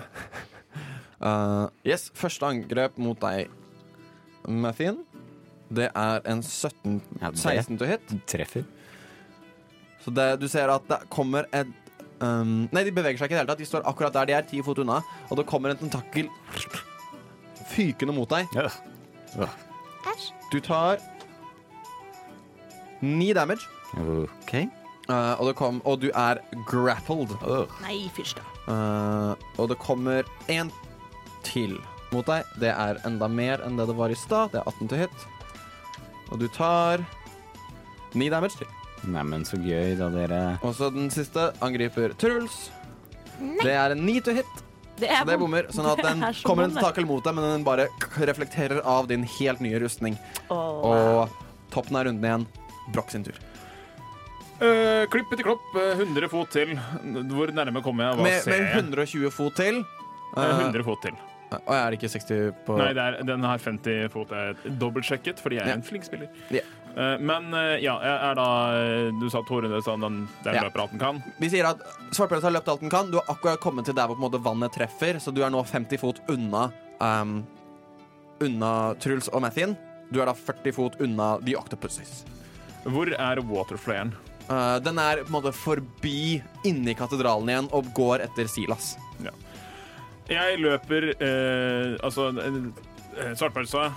Eh, yes, første angrep mot deg, Mathien. Det er en 17
Ja, det-
16 to hit.
Treffer.
Så det, du ser at det kommer et um, Nei, de beveger seg ikke i det hele tatt. De står akkurat der de er, ti fot unna. Og det kommer en tentakkel fykende mot deg.
Ja.
Du tar ni damage,
OK.
uh, og, det kom, og du er grappled.
Nei, fyrst da.
Uh, og det kommer én til mot deg. Det er enda mer enn det det var i stad. Det er 18 til hit. Og du tar ni damage til.
Neimen, så gøy, da, dere.
Og så den siste angriper Truls. Det er en ni til hit.
Det er
Så det bommer, sånn at
Det
den
er så
kommer en
bommer.
stakel mot deg, men den bare k- reflekterer av din helt nye rustning.
Åh, wow.
Og toppen av runden igjen. Broch sin tur.
Eh, klipp etter klopp, eh, 100 fot til. Hvor nærme kommer jeg? Hva
Med,
ser
med
jeg?
120 fot til.
Eh,
Eh,
100 fot til.
og er det ikke 60 på
Nei, det er, den har 50 fot. Jeg er dobbeltsjekket, fordi jeg
Ah. Ja.
er en flink spiller.
Ja.
Eh, men eh, ja, jeg er da eh, Du sa 200, så den, den
Ja.
løper alt den kan.
Vi sier at Svartpels har løpt alt den kan. Du har akkurat kommet til der hvor på en måte vannet treffer, så du er nå 50 fot unna ehm, Unna Truls og Mathien. Du er da 40 fot unna The Octopuses.
Hvor er waterflayeren?
Eh, den er på en måte forbi inni katedralen igjen og går etter Silas.
Jeg løper eh, Altså, eh, svartpølsa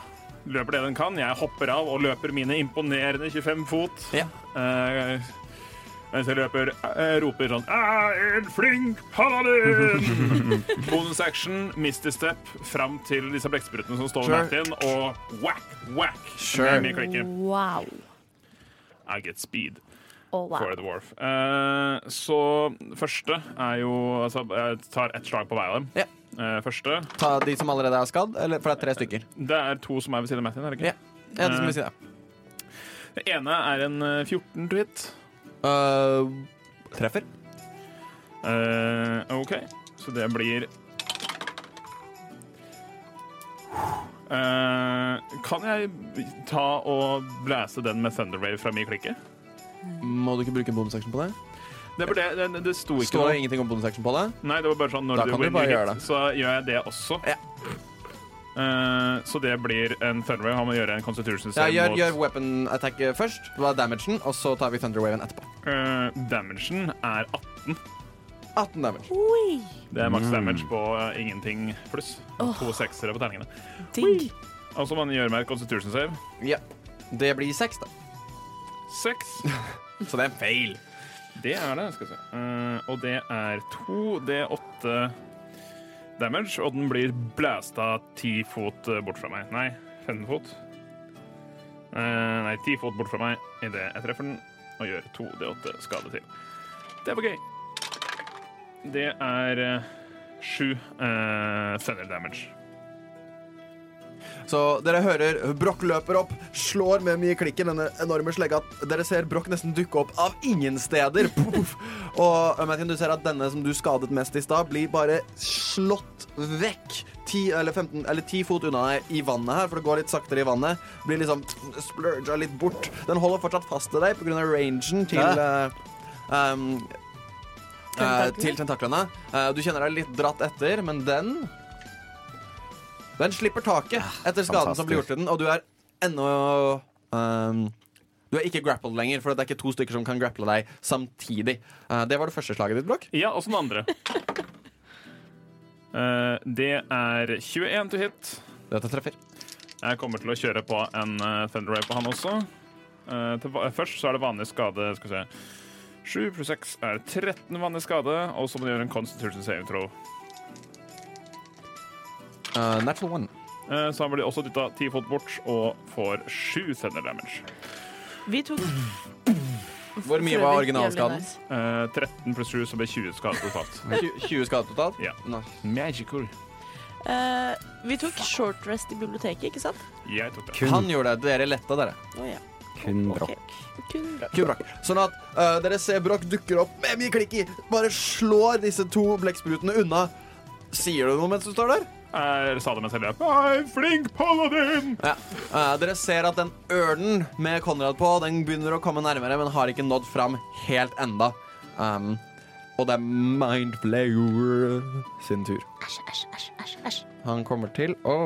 løper det den kan. Jeg hopper av og løper mine imponerende 25 fot.
Ja.
Eh, mens jeg løper, eh, roper sånn «Jeg er en flink paladin! Bonus action, mister step, fram til disse blekksprutene som står
Sure.
ved natten, og whack, whack.
Sure.
Med klikket.
Wow.
I get speed
Åh, wow.
for a dwarf. Eh, så første er jo Altså, jeg tar ett slag på hver av dem.
Ja.
Eh, første.
Ta de som allerede er skadd, eller, for det er tre stykker.
Det er to som er ved siden av Mattin, er det ikke?
Ja. Ja, det skal vi si det.
Det ene er en eh, 14 to hit.
Øh, treffer.
Eh, OK, så det blir Eh, Kan jeg ta og blæse den med Thunderwave fra min klikke?
Må du ikke bruke en bonusaction på det?
Det, var det, det, det sto ikke
Står det
noe.
ingenting om bonusaction på det?
Nei, det var bare sånn når
Da
du
kan du
winner
bare
hit,
gjøre det.
så gjør jeg det også.
Ja.
Eh, så det blir en Thunderwave. Han må gjøre en Constitution
Ja,
save
gjør,
mot
gjør weapon attack først. Hva er damagen? Og så tar vi thunderwaven etterpå.
Eh, Damagen er 18.
18 damage.
Oi,
Det er maks damage på eh, ingenting pluss. To seksere på terningene.
digg.
Og så må han gjøre meg et constitution save.
Ja. Det blir 6, da.
Seks.
Så det er en feil.
Det er det. skal vi se. Eh, og det er to D8 damage, og den blir blæsta ti fot eh, bort fra meg. Nei, 15 fot. Eh, nei, ti fot bort fra meg idet jeg treffer den, og gjør to D8 skade til. Det var gøy. Det er eh, sju eh, thunder damage.
Så dere hører Broch løper opp, slår med mye klikken denne enorme slegga. Dere ser Broch nesten dukke opp av ingen steder. Puff. Og Mathin, du ser at denne som du skadet mest i stad, blir bare slått vekk. 10 eller 15 eller 10 fot unna deg i vannet her, for det går litt saktere i vannet. Blir liksom splurga litt bort. Den holder fortsatt fast til deg pga. rangen til eh, um, eh,
Tentaklene.
til tentaklene. Eh, du kjenner deg litt dratt etter, men den Den slipper taket etter skaden som blir gjort til den, og du er ennå ehm, Du er ikke grappled lenger, for det er ikke to stykker som kan grapple deg samtidig. Eh, det var det første slaget ditt, Blokk.
Ja, også den andre. Eh, det er 21 til hit.
Dette treffer.
Jeg kommer til å kjøre på en eh, Thunder Ray på han også. Eh, til, va- først så er det vanlig skade. Skal vi se. 7 pluss 6 er 13 vanlig skade, og så må du gjøre en Constitution saving throw.
Eh, natural one.
Eh, så han blir også dytta 10 fot bort og får 7 Thunder damage.
Vi tok
Hvor mye var originalskaden?
Eh, 13 pluss 7 så blir 20 skade totalt.
20 20 skader totalt?
Ja.
Nei.
Magical.
Eh, vi tok short rest i biblioteket, ikke sant?
Jeg tok det.
Kun,
Han gjorde det. Dere letta, dere.
Å ja.
kun
Mm,
brokk.
Ok. Kun bra.
Kun brakk. Sånn at eh, dere ser Brakk dukker opp med mye klikk i. Bare slår disse to blekksprutene unna. Sier du noe mens du står der?
Jeg sa det mens jeg løp. Nei, flink paladin!
Ja. Eh, dere ser at den ørnen med Konrad på, den begynner å komme nærmere, men har ikke nådd fram helt enda. Um, og det er Mindflayer sin tur. Han kommer til å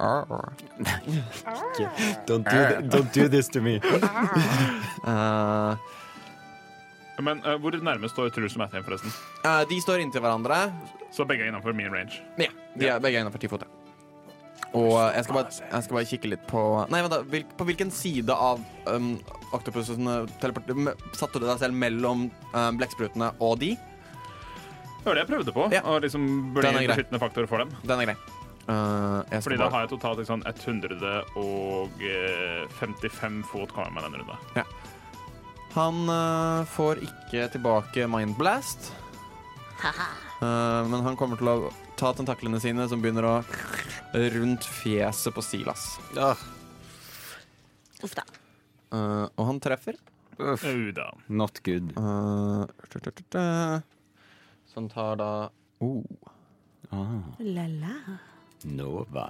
Eh,
Don't do, thi- don't do this to me.
Eh,
Men eh, hvor nærmest står Truls og Matheim, forresten?
eh, De står inntil hverandre.
Så begge er innenfor min range.
Ja, de er begge innafor ti fot. ja. Og eh, jeg skal, bare, jeg skal bare kikke litt på Nei, vent, da. hvil- På hvilken side av um, oktopusen eh, teleport- m- satte du deg selv mellom eh, blekksprutene og de?
Det var det jeg prøvde på.
Ja.
Å liksom bli
Den er
en
grei.
beskyttende faktor for dem.
Den er grei. Eh, jeg skal
Fordi da
bare-
har jeg totalt sånn ikke sant, 155 eh, fot kommer jeg med den runden.
Han eh, får ikke tilbake Mindblast. Eh, men han kommer til å ta tentaklene sine, som begynner å rundt fjeset på Silas.
Uff da.
Eh, og han treffer.
Au da.
Not good.
Eh, tut, tut, tut, eh. Så han tar da oh.
Ah,
La-la.
Nova.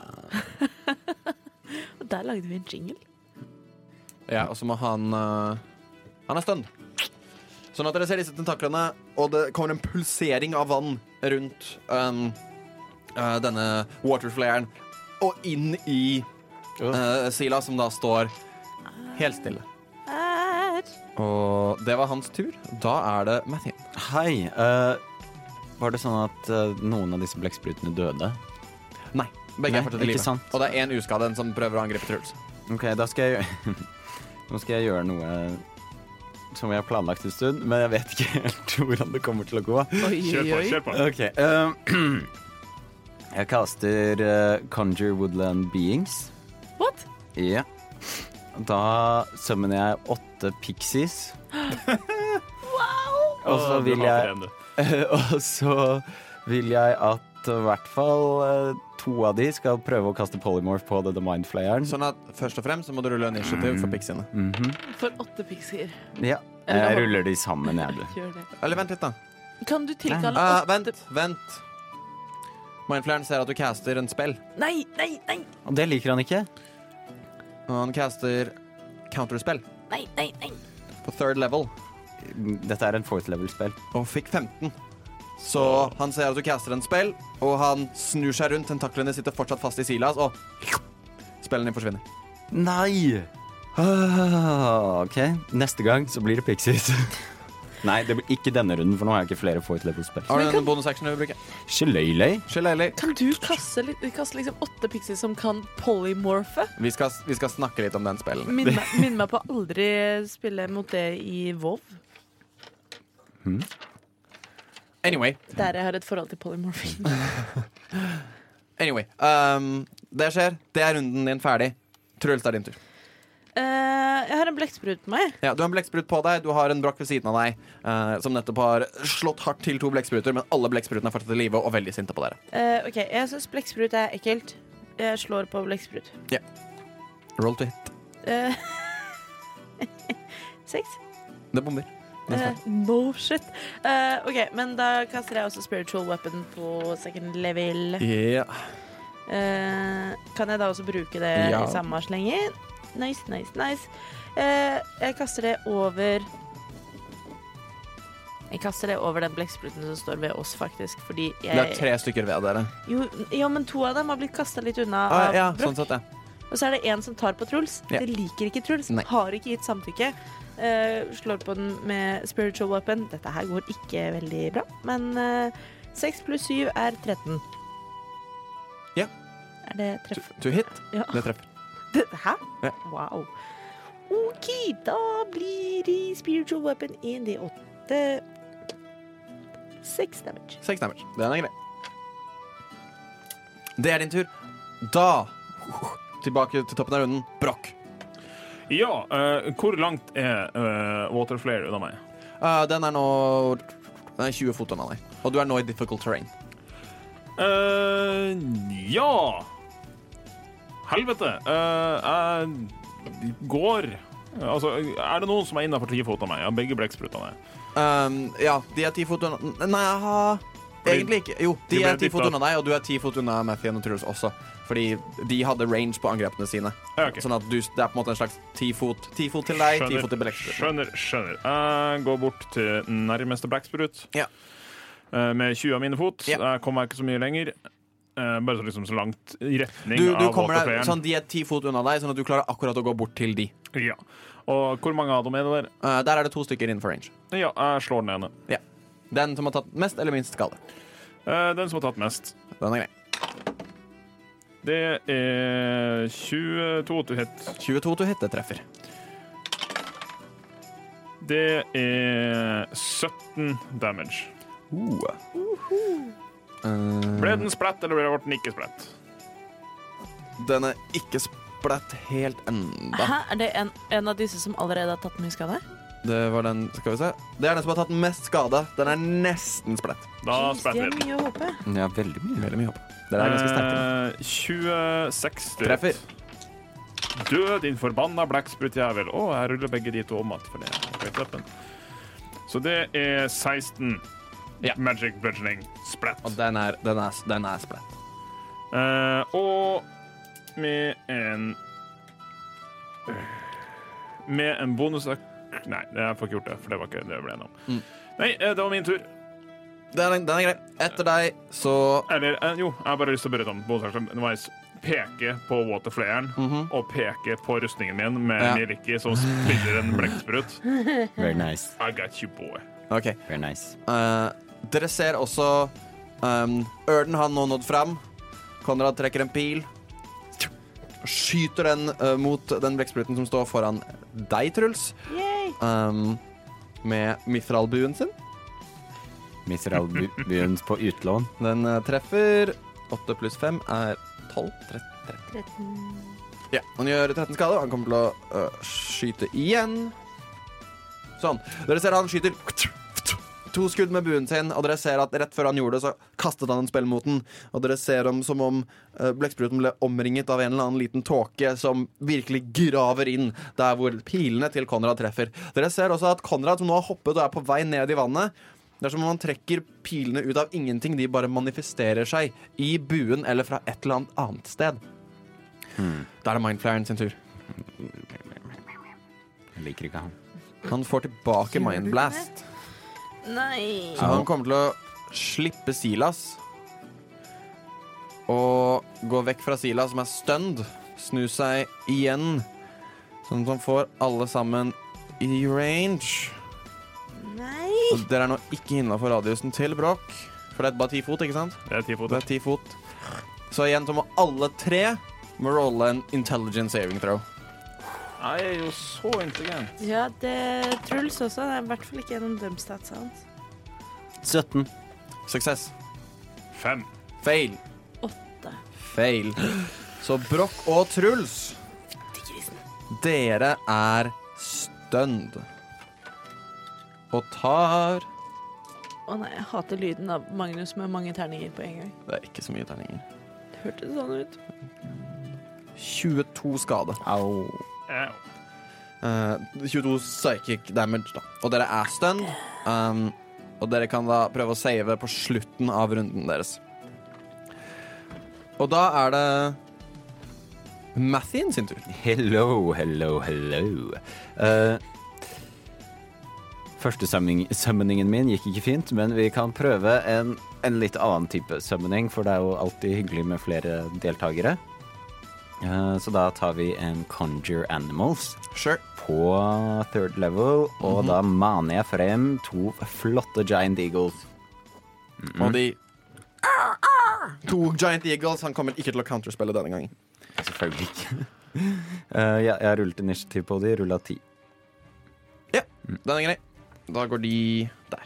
Og der lagde vi en jingle.
Ja, og så må han eh, Han er stønn. Sånn at dere ser disse tentaklene, og det kommer en pulsering av vann rundt um, eh, denne waterflayeren, og inn i eh, Sila, som da står helt stille.
Her.
Og det var hans tur. Da er det Mathin.
Hei. eh, var det sånn at eh, noen av disse blekksprutene døde?
Nei, begge
Nei,
er fortsatt i
ikke
live.
sant.
Og det er én uskadd, en som prøver å angripe Truls.
Ok, da skal jeg gjøre Nå skal jeg gjøre noe som jeg har planlagt en stund, men jeg vet ikke helt hvordan det kommer til å gå.
Oi,
Kjør
oi,
på,
oi.
kjør på.
Ok eh, Jeg kaster eh, Conjure Woodland Beings.
What?
Ja. Da summoner jeg åtte pixies. wow! Og så
Å, du
vil
hater
jeg
en, du.
Og så vil jeg at i hvert fall eh, to av de skal prøve å kaste polymorph på The Mind Flayeren.
Sånn at først og fremst så må du rulle initiativ for pixiene.
For åtte pixier.
Ja. Jeg ruller de sammen, jeg, du.
Gjør det.
Eller vent litt, da.
Kan du tilkalle
Eh,
Ah,
åtte
vent, vent. Mindflayeren ser at du caster en spill.
Nei, nei, nei!
Og det liker han ikke.
Og han caster counterspell
Nei, nei, nei.
på third level
Dette er en fourth level-spill.
og fikk 15. Så han ser at du caster en spill, og han snur seg rundt. Tentaklene sitter fortsatt fast i Silas, og spillen din forsvinner.
Nei! Ah, ok, neste gang så blir det pixies. Nei, det blir ikke denne runden, for nå har jeg ikke flere fourth level-spill.
Har du en bonusaction du vil bruke?
Shaløyløy.
Shillelagh.
Kan du kaste, litt- kaste liksom åtte pixier som kan polymorphe?
Vi, skal- vi skal snakke litt om den spillen.
Minn meg, minn meg på å aldri spille mot det i WoW.
Anyway.
Der jeg har et forhold til polymorphing.
anyway um, det skjer. Det er runden din ferdig. Truls, det er din tur.
Eh, jeg har en blekksprut på meg.
Ja, du har en blekksprut på deg, du har en brokk ved siden av deg eh, som nettopp har slått hardt til to blekkspruter, men alle blekksprutene er fortsatt i live og veldig sinte på dere.
Eh, OK, jeg syns blekksprut er ekkelt. Jeg slår på blekksprut.
Roll to hit.
Eh, Seks.
Det bomber. Det er
Eh, no shit. Eh, OK, men da kaster jeg også spiritual weapon på second level.
Ja.
Eh, kan jeg da også bruke det
Ja.
i samme slenger? Nice, nice, nice. Eh, jeg kaster det over Jeg kaster det over den blekkspruten som står ved oss, faktisk, fordi jeg
Det er tre stykker ved dere.
Jo, ja, men to av dem har blitt kasta litt unna
Ah,
av
ja,
brokk.
sånn sett, ja.
Og så er det en som tar på Truls.
Ja.
Det liker ikke Truls.
Nei.
Har ikke gitt samtykke. Eh, slår på den med spiritual weapon. Dette her går ikke veldig bra, men eh, 6 pluss 7 er 13.
Ja.
Er det
To,
treff?
to hit.
Ja.
Det treffer.
Det, hæ?
Ja.
Wow. OK, da blir det spiritual weapon 1D8. Seks damage.
Seks damage. Den er grei. Det er din tur. Da Tilbake til toppen av runden. Brokk.
Ja, eh, hvor langt er eh, Waterflare unna meg?
Eh, den er nå Den er 20 fot unna deg. Og du er nå i difficult terrain.
eh ja Helvete. eh, jeg går Altså, er det noen som er innafor ti fot av meg? Jeg har begge blekksprutene.
Um, ja, de er ti fot unna Nei, ha. egentlig ikke. Jo, de
De ble
er ti fot
dyttet.
unna deg, og du er ti fot unna Mathien og Truls også. Fordi de hadde range på angrepene sine.
Ja, ok.
Sånn at du, det er på en måte en slags ti fot, ti fot til deg, ti fot til Belexter.
skjønner. skjønner. Jeg går bort til nærmeste blekksprut
Ja.
eh, med 20 av mine fot.
Ja.
Jeg kommer ikke så mye lenger. Eh, bare så liksom så langt i retning
Du, du
av
kommer deg,
waterflaren.
sånn, de er ti fot unna deg, sånn at du klarer akkurat å gå bort til de.
Ja. Og hvor mange av dem er det der?
Uh, der er det to stykker innenfor range.
Ja, jeg slår den ene.
Ja. Den som har tatt mest eller minst skade.
Eh, den som har tatt mest.
Den er grei.
Det er 22 to hit.
22 to hit, det treffer.
Det er 17 damage.
Uh. Eh,
Ble den splett, eller ble den ikke splett?
Den er ikke splatt helt enda.
Hæ? Er det en, en av disse som allerede har tatt mye skade?
Det var den, skal vi se Det er den som har tatt mest skade. Den er nesten splett.
Da
Jeez,
splett
de har
den.
mye å håpe.
Ja, veldig mye.
Veldig mye hopp. Den er ganske sterk.
Eh, 26 til
Treffer.
Dø, din forbanna blekksprutjævel. Å, jeg ruller begge de to om igjen. for det er på knappen. Så det er 16
Ja.
magic bludgeoning splett.
Og den er, den er, den er splett.
Eh, og med en Med en bonus Nei, jeg får ikke gjort det, for det var ikke det jeg ble enig om.
Mm.
Nei, eh, det var min tur.
Den er, den er grei. Etter deg så
Eller eh, jo, jeg har bare lyst til å berette om bonusaksjon. Nå må jeg s- peke på waterflayeren og peke på rustningen min med
Mhm. Ja.
Miliki som spiller en blekksprut.
Very nice.
I got you, boy.
OK.
Very nice.
Eh, dere ser også um, Ørden har nå nådd fram. Konrad trekker en pil. Skyter den eh, mot den blekkspruten som står foran deg, Truls.
Yay.
Um, med mithralbuen sin.
Miseralbyen på utlån.
Den eh, treffer. 8 pluss 5 er 12. 13. 13. Ja, han gjør 13 skade, og han kommer til å øh, skyte igjen. Sånn. Dere ser han skyter to skudd med buen sin, og dere ser at rett før han gjorde det, så kastet han en spell mot den. Og dere ser ham som om eh, blekkspruten ble omringet av en eller annen liten tåke som virkelig graver inn der hvor pilene til Konrad treffer. Dere ser også at Konrad, som nå har hoppet og er på vei ned i vannet, det er som om han trekker pilene ut av ingenting, de bare manifesterer seg i buen eller fra et eller annet annet sted. Da er det Mindflayeren sin tur.
Jeg liker ikke han.
Han får tilbake Mindblast.
Nei.
Så han kommer til å slippe Silas og gå vekk fra Silas, som er stunned. Snu seg igjen, sånn at han får alle sammen i range.
Nei.
Og dere er nå ikke innafor radiusen til Bråk, for det er bare ti fot, ikke sant?
Det er ti
Det
fot.
er ti fot. Så igjen så må alle tre må rolle en intelligence saving throw.
Jeg er jo så intelligent.
Ja, det Truls også. Det er i hvert fall ikke gjennom dem statsa hans.
17.
Suksess.
Fem.
Fail.
Åtte.
Fail. Så Broch og Truls Dere er stønd. Og tar
Å nei, jeg hater lyden av Magnus med mange terninger på en gang.
Det er ikke så mye terninger.
Det hørtes sånn ut.
22 skade.
Au.
Eh,
Eh, 22 psychic damage, da. Og dere er stunned. Um, og dere kan da prøve å save på slutten av runden deres. Og da er det Mathien sin tur.
Hello, hello, hello. Eh, første summoning, summoningen min gikk ikke fint, men vi kan prøve en, en litt annen type summoning, for det er jo alltid hyggelig med flere deltakere. Eh, så da tar vi en Conjure Animals
Sure.
på third level, og da maner jeg frem to flotte giant eagles.
Og de To giant eagles. Han kommer ikke til å counterspille denne gangen.
Selvfølgelig ikke. Eh, jeg, jeg rullet initiativ på de, rullet ti.
Den er grei. Da går de der.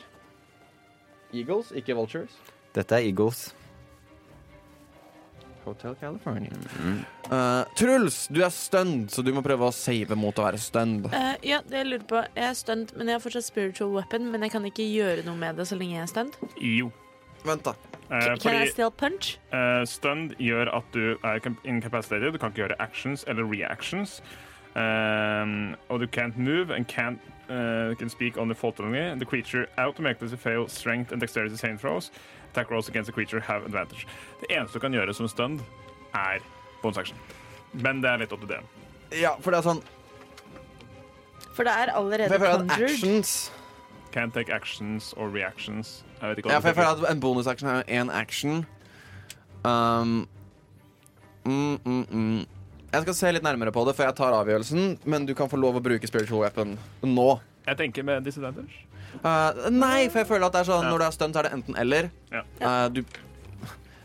Eagles, ikke vultures.
Dette er eagles.
Hotel California.
Mm.
Eh, Truls, du er stunned, så du må prøve å save mot å være stunned.
Eh, ja, det jeg lurer på. Jeg er stunt, men jeg har fortsatt spiritual weapon. Men jeg kan ikke gjøre noe med det så lenge jeg er stunt.
jo.
Vent, da.
Eh,
Can I
fordi
still punch?
eh, stund gjør at du er incap- incapacitated. Du kan ikke gjøre actions eller reactions. Um, og du can't move and can't uh, can speak on the fault only. The creature automatically fail strength and dexterity same throws. Attack rolls against the creature have advantage. Det eneste du kan gjøre som stund, er bonus action. Men det er litt opp til det.
Ja, for det er sånn
For det er
For
allerede
jeg føler at
conjured.
actions
Can't take actions or reactions. Jeg vet ikke
Ja,
hva
for jeg
det
føler at en bonusaction er jo én action. Um, mm, mm, mm. Jeg skal se litt nærmere på det før jeg tar avgjørelsen, men du kan få lov å bruke spiritual weapon nå.
heter. Jeg tenker med disadvantage.
Eh, nei, for jeg føler at det er sånn
Ja.
når du er stunt, så er det enten eller.
Ja.
Eh, du,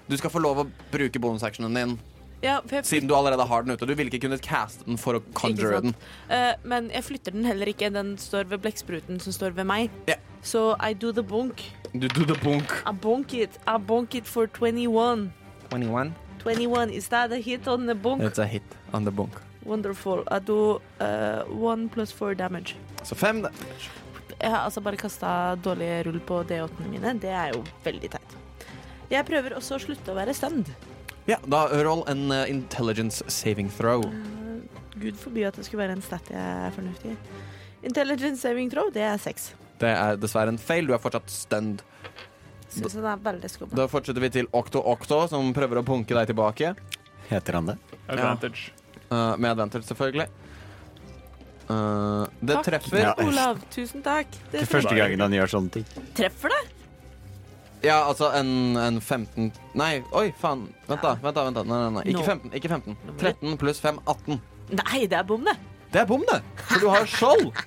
du skal få lov å bruke bonusactionen din
Ja, for jeg
siden du allerede har den ute. Du ville ikke kunnet caste den for å
Ikke
conjure
sant.
den.
Eh, men jeg flytter den heller ikke. Den står ved blekkspruten som står ved meg.
Ja.
Så I do the bonk.
Du do the bunk.
I bonk it. I bonk it for 21.
21.
21, is that a hit on the bonk?
It's a hit on the bunk.
Wonderful. I do eh, one plus four damage.
Så fem, da.
Jeg har altså bare kasta dårlige rull på D8-ene mine. Det er jo veldig teit. Jeg prøver også å slutte å være stund.
Ja, da roll en eh, intelligence saving throw.
Eh, Gud forby at det skulle være en stat jeg er fornuftig i. Intelligence saving throw, det er seks.
Det er dessverre en feil. Du er fortsatt stunned.
Syns den er veldig skummel.
Da fortsetter vi til Okto Okto, som prøver å punke deg tilbake.
Heter han det?
Advantage.
Eh, med advantage, selvfølgelig. Eh, det
Takk,
treffer.
Ja.
Olav. Tusen takk. Det
Ikke første gangen han gjør sånne ting.
treffer det.
Ja, altså en, en 15 Nei, oi, faen. Vent, da. vent da, vent da. Nei, nei, nei. Ikke
Nå.
15. ikke 15
Nummer-
13 pluss 5 18.
Nei, det er bom, det.
Det er bom, det! For du har skjold.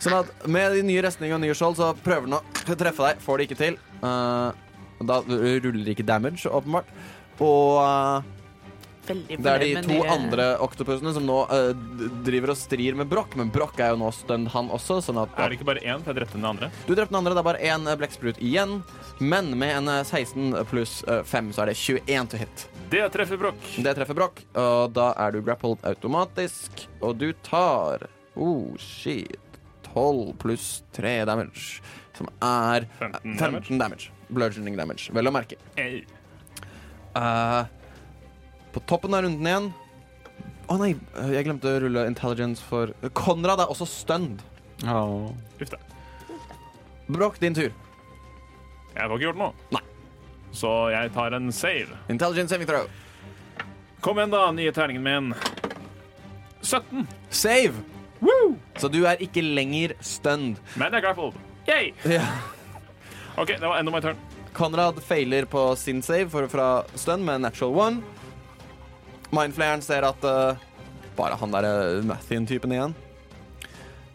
Sånn at med de nye restningene og nye skjold, så prøver den å treffe deg. Får det ikke til. Eh, da ruller det ikke damage, åpenbart. Og eh,
Veldig
det er de
fornøyd med
to
nye-
andre oktopusene som nå eh, d- driver og strir med Brokk, men Brokk er jo nå stunned, han også. Sånn at
Er det ikke bare én? For jeg drepte den andre.
Du drepte den andre, det er bare én eh, blekksprut igjen. Men med en eh, 16 pluss 5, så er det 21 to hit.
Det treffer Brokk.
Det treffer Broch, og da er du grappled automatisk. Og du tar Oh, shit. 12 pluss 3 damage, som er
15
15 damage. Bludgeoning damage, vel å merke.
Ei.
Eh, på toppen av runden igjen Å nei, eh, jeg glemte å rulle intelligence for Konrad er også stunned.
Åh.
Uff da.
Broch, din tur.
Jeg får ikke gjort noe.
Nei.
Så jeg tar en save.
Intelligence saving throw.
Kom igjen, da, nye terningen min. 17.
Save! Så du er ikke lenger stunned.
Men jeg er grappled. Yay! OK, det var enda my turn.
Konrad feiler på sin save for, fra stun med en natural one. Mindflayeren ser at eh, bare han derre Mathien-typen igjen.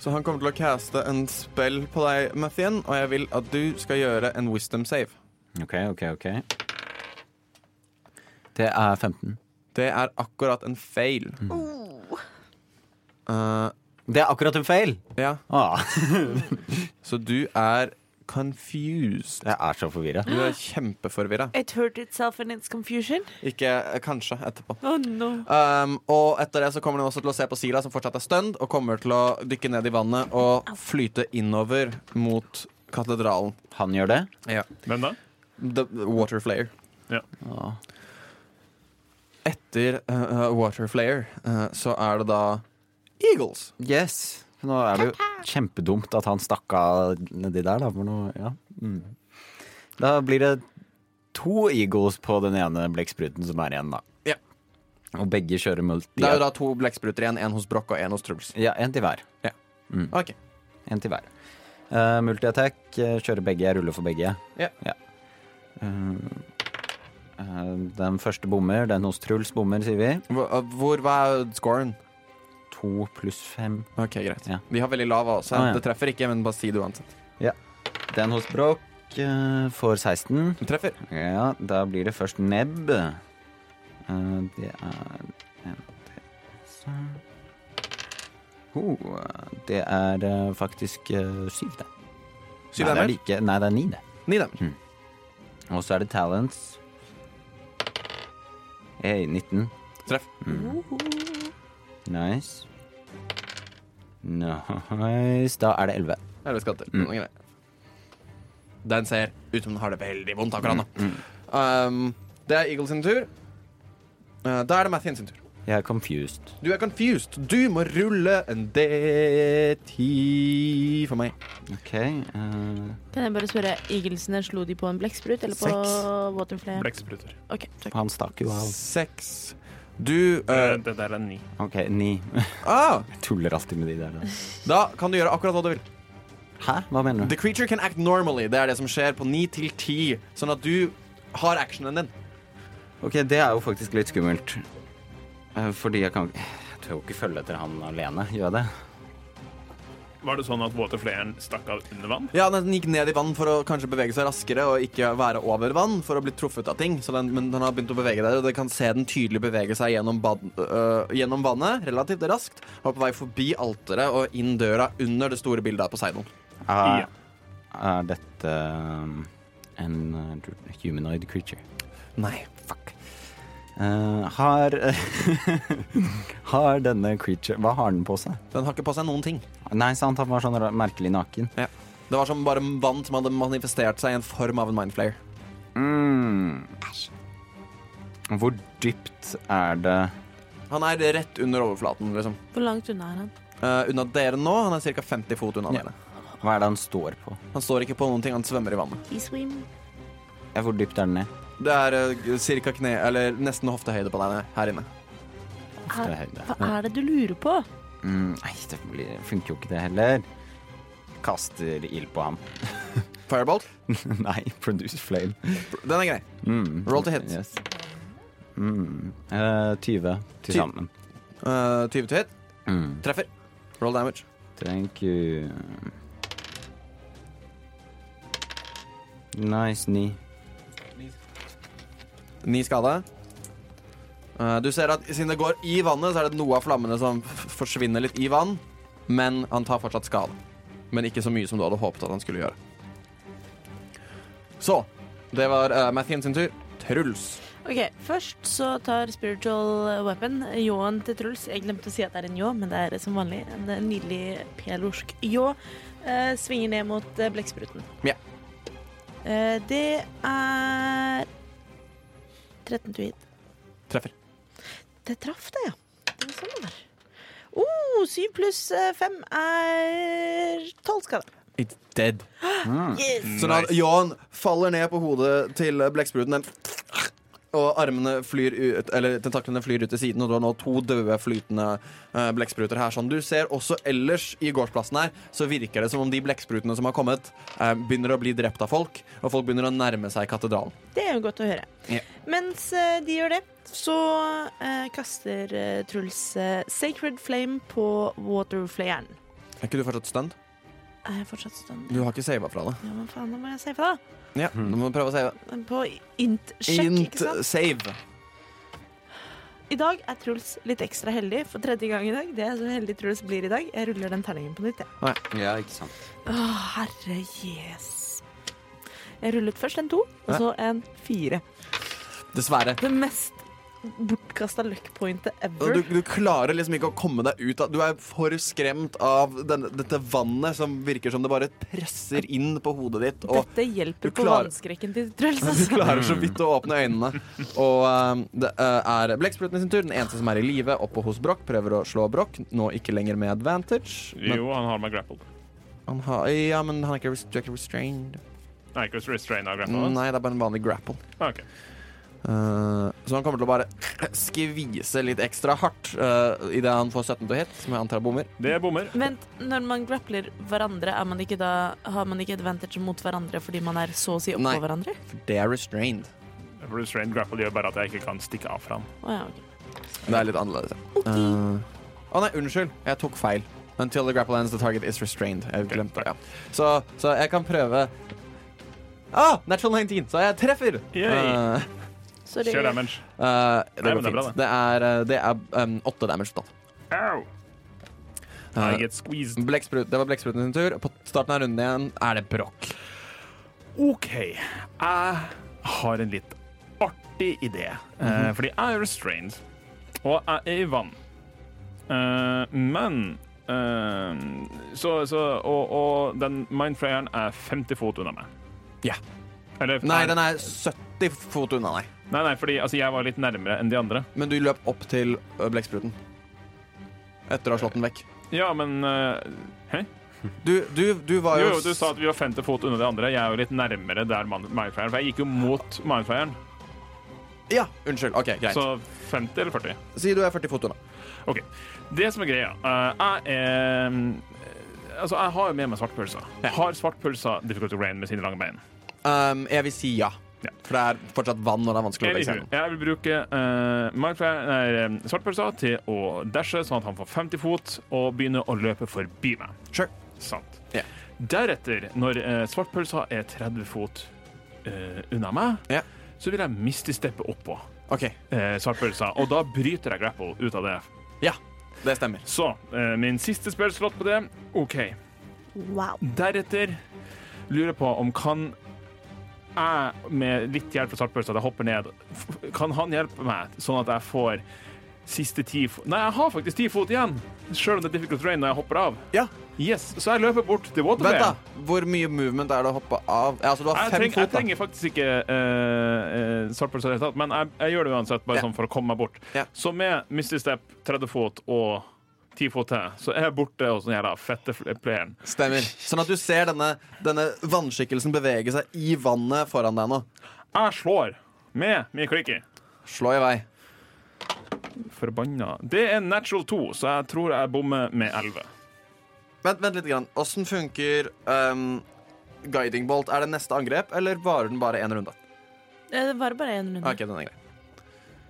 Så han kommer til å caste en spell på deg, Mathien, og jeg vil at du skal gjøre en wisdom save.
Ok, ok, ok. Det er 15.
Det er akkurat en fail. Eh,
Det er akkurat en feil!
ja,
Ah.
så du er confused.
Jeg er så forvirra.
Du er kjempeforvirra.
It hurt itself in its confusion.
Ikke eh, kanskje etterpå.
Oh no.
Um, og etter det så kommer hun også til å se på Sila, som fortsatt er stønd, og kommer til å dykke ned i vannet og flyte innover mot katedralen.
Han gjør det.
Hvem da?
The Water Flayer.
Ja.
Ja.
Etter eh, Water Flayer eh, så er det da Eagles.
Yes. Nå er det jo kjempedumt at han stakk av nedi der, da. For noe, ja. mm. Da blir det to eagles på den ene blekkspruten som er igjen, da.
Ja.
Og begge kjører multi.
Det er jo da to blekkspruter igjen. En hos Broch og en hos Truls.
Ja, en til hver.
Ok,
En til hver. Eh, Multiattack, eh, kjører begge, jeg ruller for begge.
Ja.
Eh, eh, den første bommer, den hos Truls bommer, sier vi.
Hvor, eh, hvor hva er scoren?
To pluss fem.
Ok, greit.
Ja.
De har veldig lav også.
Ah, ja.
Det treffer ikke, men bare si det uansett.
Den hos Bråk eh, får 16.
Det treffer.
Ja, da blir det først nebb. Eh, det er en til oh, Det er eh, faktisk eh, syv, det.
Syv
nei, det er Mm.
demmer.
like, nei, det er ni, det.
Ni demmer.
Og så er det talents. Hey, 19.
Treff.
Nice. Nice. Da er det 11.
Elleve skatter.
Mm.
Noen greier. Den ser ut som den har det veldig vondt akkurat nå. Um, det er Eagles sin tur. Eh, da er det Mathien sin tur.
Jeg er confused.
Du er confused. Du må rulle en D10 for meg.
OK. eh,
Kan jeg bare spørre, Eaglesene slo de på en blekksprut eller på
Seks.
waterflare?
Blekkspruter.
Ok, takk.
han stakk jo av.
Seks. Du
Eh,
eh,
Det der er ni.
OK, ni.
ah,
Jeg tuller alltid med de der. da.
Da kan du gjøre akkurat hva du vil.
Hæ? Hva mener du?
The creature can act normally. Det er det som skjer på 9 til 10, sånn at du har actionen din.
OK, det er jo faktisk litt skummelt. Eh, fordi jeg kan Jeg tør jo ikke følge etter han alene, gjør jeg det?
Var det sånn at waterflayeren stakk av under vann?
Ja, Den gikk ned i vann for å kanskje bevege seg raskere og ikke være over vann for å bli truffet av ting. Så den, men den har begynt å bevege der, og dere kan se den tydelig bevege seg gjennom, bad, øh, gjennom vannet relativt raskt. Og er på vei forbi alteret og inn døra under det store bildet av Poseidon.
Er,
Ja.
er dette um, en uh, humanoid creature?
Nei.
Fuck. Eh, har Har denne creature Hva har den på seg?
Den har ikke på seg noen ting.
Nei, sant, han var sånn ra- merkelig naken.
Det var som bare vann som hadde manifestert seg i en form av en mindflayer.
Mm. Hvor dypt er det
Han er rett under overflaten, liksom.
Hvor langt unna er han?
Eh, unna dere nå. Han er ca. 50 fot unna
Ja.
dere.
Hva er det han står på?
Han står ikke på noen ting, han svømmer i vannet.
He swim.
Ja, hvor dypt er den ned?
Det er uh, cirka kne, eller nesten hoftehøyde på deg her inne.
Ofte er høyde.
Hva er det du lurer på?
Mm, nei, det blir, funker jo ikke det heller. Kaster ild på ham.
Firebolt,
nei, produce flame.
den er grei.
Mm.
Roll to hit.
Yes. Mm. Eh, 20
Ty-
til sammen.
Eh, 20 til hit.
Mm.
Treffer. Roll damage.
Thank you. Nice, ni.
Ni skade. Eh, du ser at siden det går i vannet, så er det noe av flammene som f- forsvinner litt i vann. Men han tar fortsatt skade. Men ikke så mye som du hadde håpet at han skulle gjøre. Så. Det var uh, Mathien sin tur. Truls.
Ok, Først så tar spiritual weapon ljåen til Truls. Jeg glemte å si at det er en ljå, men det er som vanlig en nydelig pelorsk ljå. Eh, svinger ned mot eh, blekkspruten.
Ja.
Eh, det er 13 to hit.
Treffer.
Det traff, det, ja. Det var sånn det var. Oh, 7 pluss 5 er 12 skade.
It's dead.
Yes!
Sånn at Jan faller ned på hodet til blekkspruten. den- Og armene flyr ut, eller tentaklene flyr ut til siden, og du har nå to døde, flytende eh, blekkspruter her. Som du ser også ellers i gårdsplassen her, så virker det som om de blekksprutene som har kommet, eh, begynner å bli drept av folk, og folk begynner å nærme seg katedralen.
Det er jo godt å høre.
Ja.
Mens eh, de gjør det, så eh, kaster eh, Truls eh, Sacred Flame på Waterflayeren.
Er ikke du fortsatt stunt?
Er jeg fortsatt stående?
Du har ikke sava fra det.
Ja, men faen, nå må jeg safe, da.
Ja, du må prøve å save.
På int-sjekk,
Int
ikke sant?
save.
I dag er Truls litt ekstra heldig for tredje gang i dag. Det er så heldig Truls blir i dag. Jeg ruller den terningen på nytt, jeg.
Ja, ikke sant.
Å, herre jes Jeg rullet først en to, og så en fire.
Dessverre.
Det mest bortkasta luckpointet
Og
ever.
Du, du klarer liksom ikke å komme deg ut av Du er for skremt av den, dette vannet som virker som det bare presser inn på hodet ditt. Og
Dette hjelper
du
på
klarer-
vannskrekken til Truls.
du
altså.
klarer så vidt å åpne øynene. Og eh, det eh, er blekkspruten i sin tur. Den eneste som er i live oppe hos Broch, prøver å slå Broch. Nå ikke lenger med advantage. Men
Jo, han har meg grappled.
han har, ja, men han er ikke, rest- du er ikke restrained. Mm,
Nei, ikke restrain av grappled.
Nei, det er bare en vanlig grapple.
Ah, ok.
Eh, så han kommer til å bare skvise litt ekstra hardt uh, idet han får 17 til å hit, som jeg antar er bommer.
Det bommer.
Vent, når man grappler hverandre, er man ikke da, har man ikke advantage mot hverandre fordi man er så å si oppå
Nei.
hverandre?
For det er restrained.
Restrained grapple gjør bare at jeg ikke kan stikke av fra han.
Å ja, ok.
Det er litt annerledes. ja. Eh, Å nei, unnskyld. Jeg tok feil. Until the grapple ends, the target is restrained. Jeg glemte det, ja. Så, så jeg kan prøve Ah, natural 19, så jeg treffer!
Yay.
Eh,
Sorry.
Kjør damage.
eh, det går
Nei, men det er bra,
fint. Det er, eh, det er um, åtte damage totalt.
Au! I
Eh,
get squeezed.
blekksprut, det var blekkspruten sin tur. På starten av runden igjen er det brokk.
OK, jeg har en litt artig idé. Eh, Fordi jeg er restrained, og jeg er i vann. Eh, men eh, Så, så og, og den mindflayeren er 50 fot unna meg.
Ja.
Eller
Nei, den er 70 fot unna deg.
Nei, nei, fordi altså, jeg var litt nærmere enn de andre.
Men du løp opp til ø, blekkspruten. Etter å ha slått den vekk.
Ja, men eh, Hæ?
Du, du, du var
Jo,
jo
jo, du sa at vi var 50 fot unna de andre. Jeg er jo litt nærmere der man- mindflayeren, for jeg gikk jo mot mindflayeren.
Ja, unnskyld. OK, greit.
Så 50 eller 40?
Si du er 40 fot unna.
OK. Det som er greia eh, Jeg er eh, Altså, jeg har jo med meg svartpølser. Har svartpølser difficult to rain med sine lange bein?
Um, jeg vil si ja.
Ja.
For det er fortsatt vann, og det er vanskelig å
Anywho,
legge seg gjennom.
Jeg vil bruke uh, nei, svartpølsa til å dashe, sånn at han får 50 fot og begynner å løpe forbi meg.
Sure.
Sant.
Ja.
Deretter, når eh, svartpølsa er 30 fot eh, unna meg,
Ja.
så vil jeg mistesteppe oppå
OK.
eh, svartpølsa, og da bryter jeg grapple ut av det.
Ja, det stemmer.
Så eh, min siste spillslott på det. OK.
Wow.
Deretter lurer jeg på om kan jeg, med litt hjelp fra svartpølsa, at jeg hopper ned, f- kan han hjelpe meg sånn at jeg får siste ti fot Nei, jeg har faktisk ti fot igjen, sjøl om det er difficult rain når jeg hopper av.
Ja,
Yes, Så jeg løper bort til
Vent,
Waterman.
da. Hvor mye movement er det å hoppe av? Ja, altså, du har
Jeg,
fem
treng, jeg
fot, da.
trenger faktisk ikke uh, svartpølse, i det hele tatt, men jeg, jeg gjør det uansett, bare
Ja.
sånn for å komme meg bort.
Ja.
Så med Misty Step, 30 fot og 10 fot til, så er jeg borte hos den jævla fette fl- playeren.
Stemmer. Sånn at du ser denne, denne vannskikkelsen bevege seg i vannet foran deg nå.
Jeg slår med min klikker.
Slå i vei.
Forbanna. Det er natural 2, så jeg tror jeg bommer med 11.
Vent, vent litt. grann. Åssen funker um, guiding bolt? Er det neste angrep, eller varer den bare én runde?
Eh, Det var bare
Mhm.
én runde.
Ok, den er grei.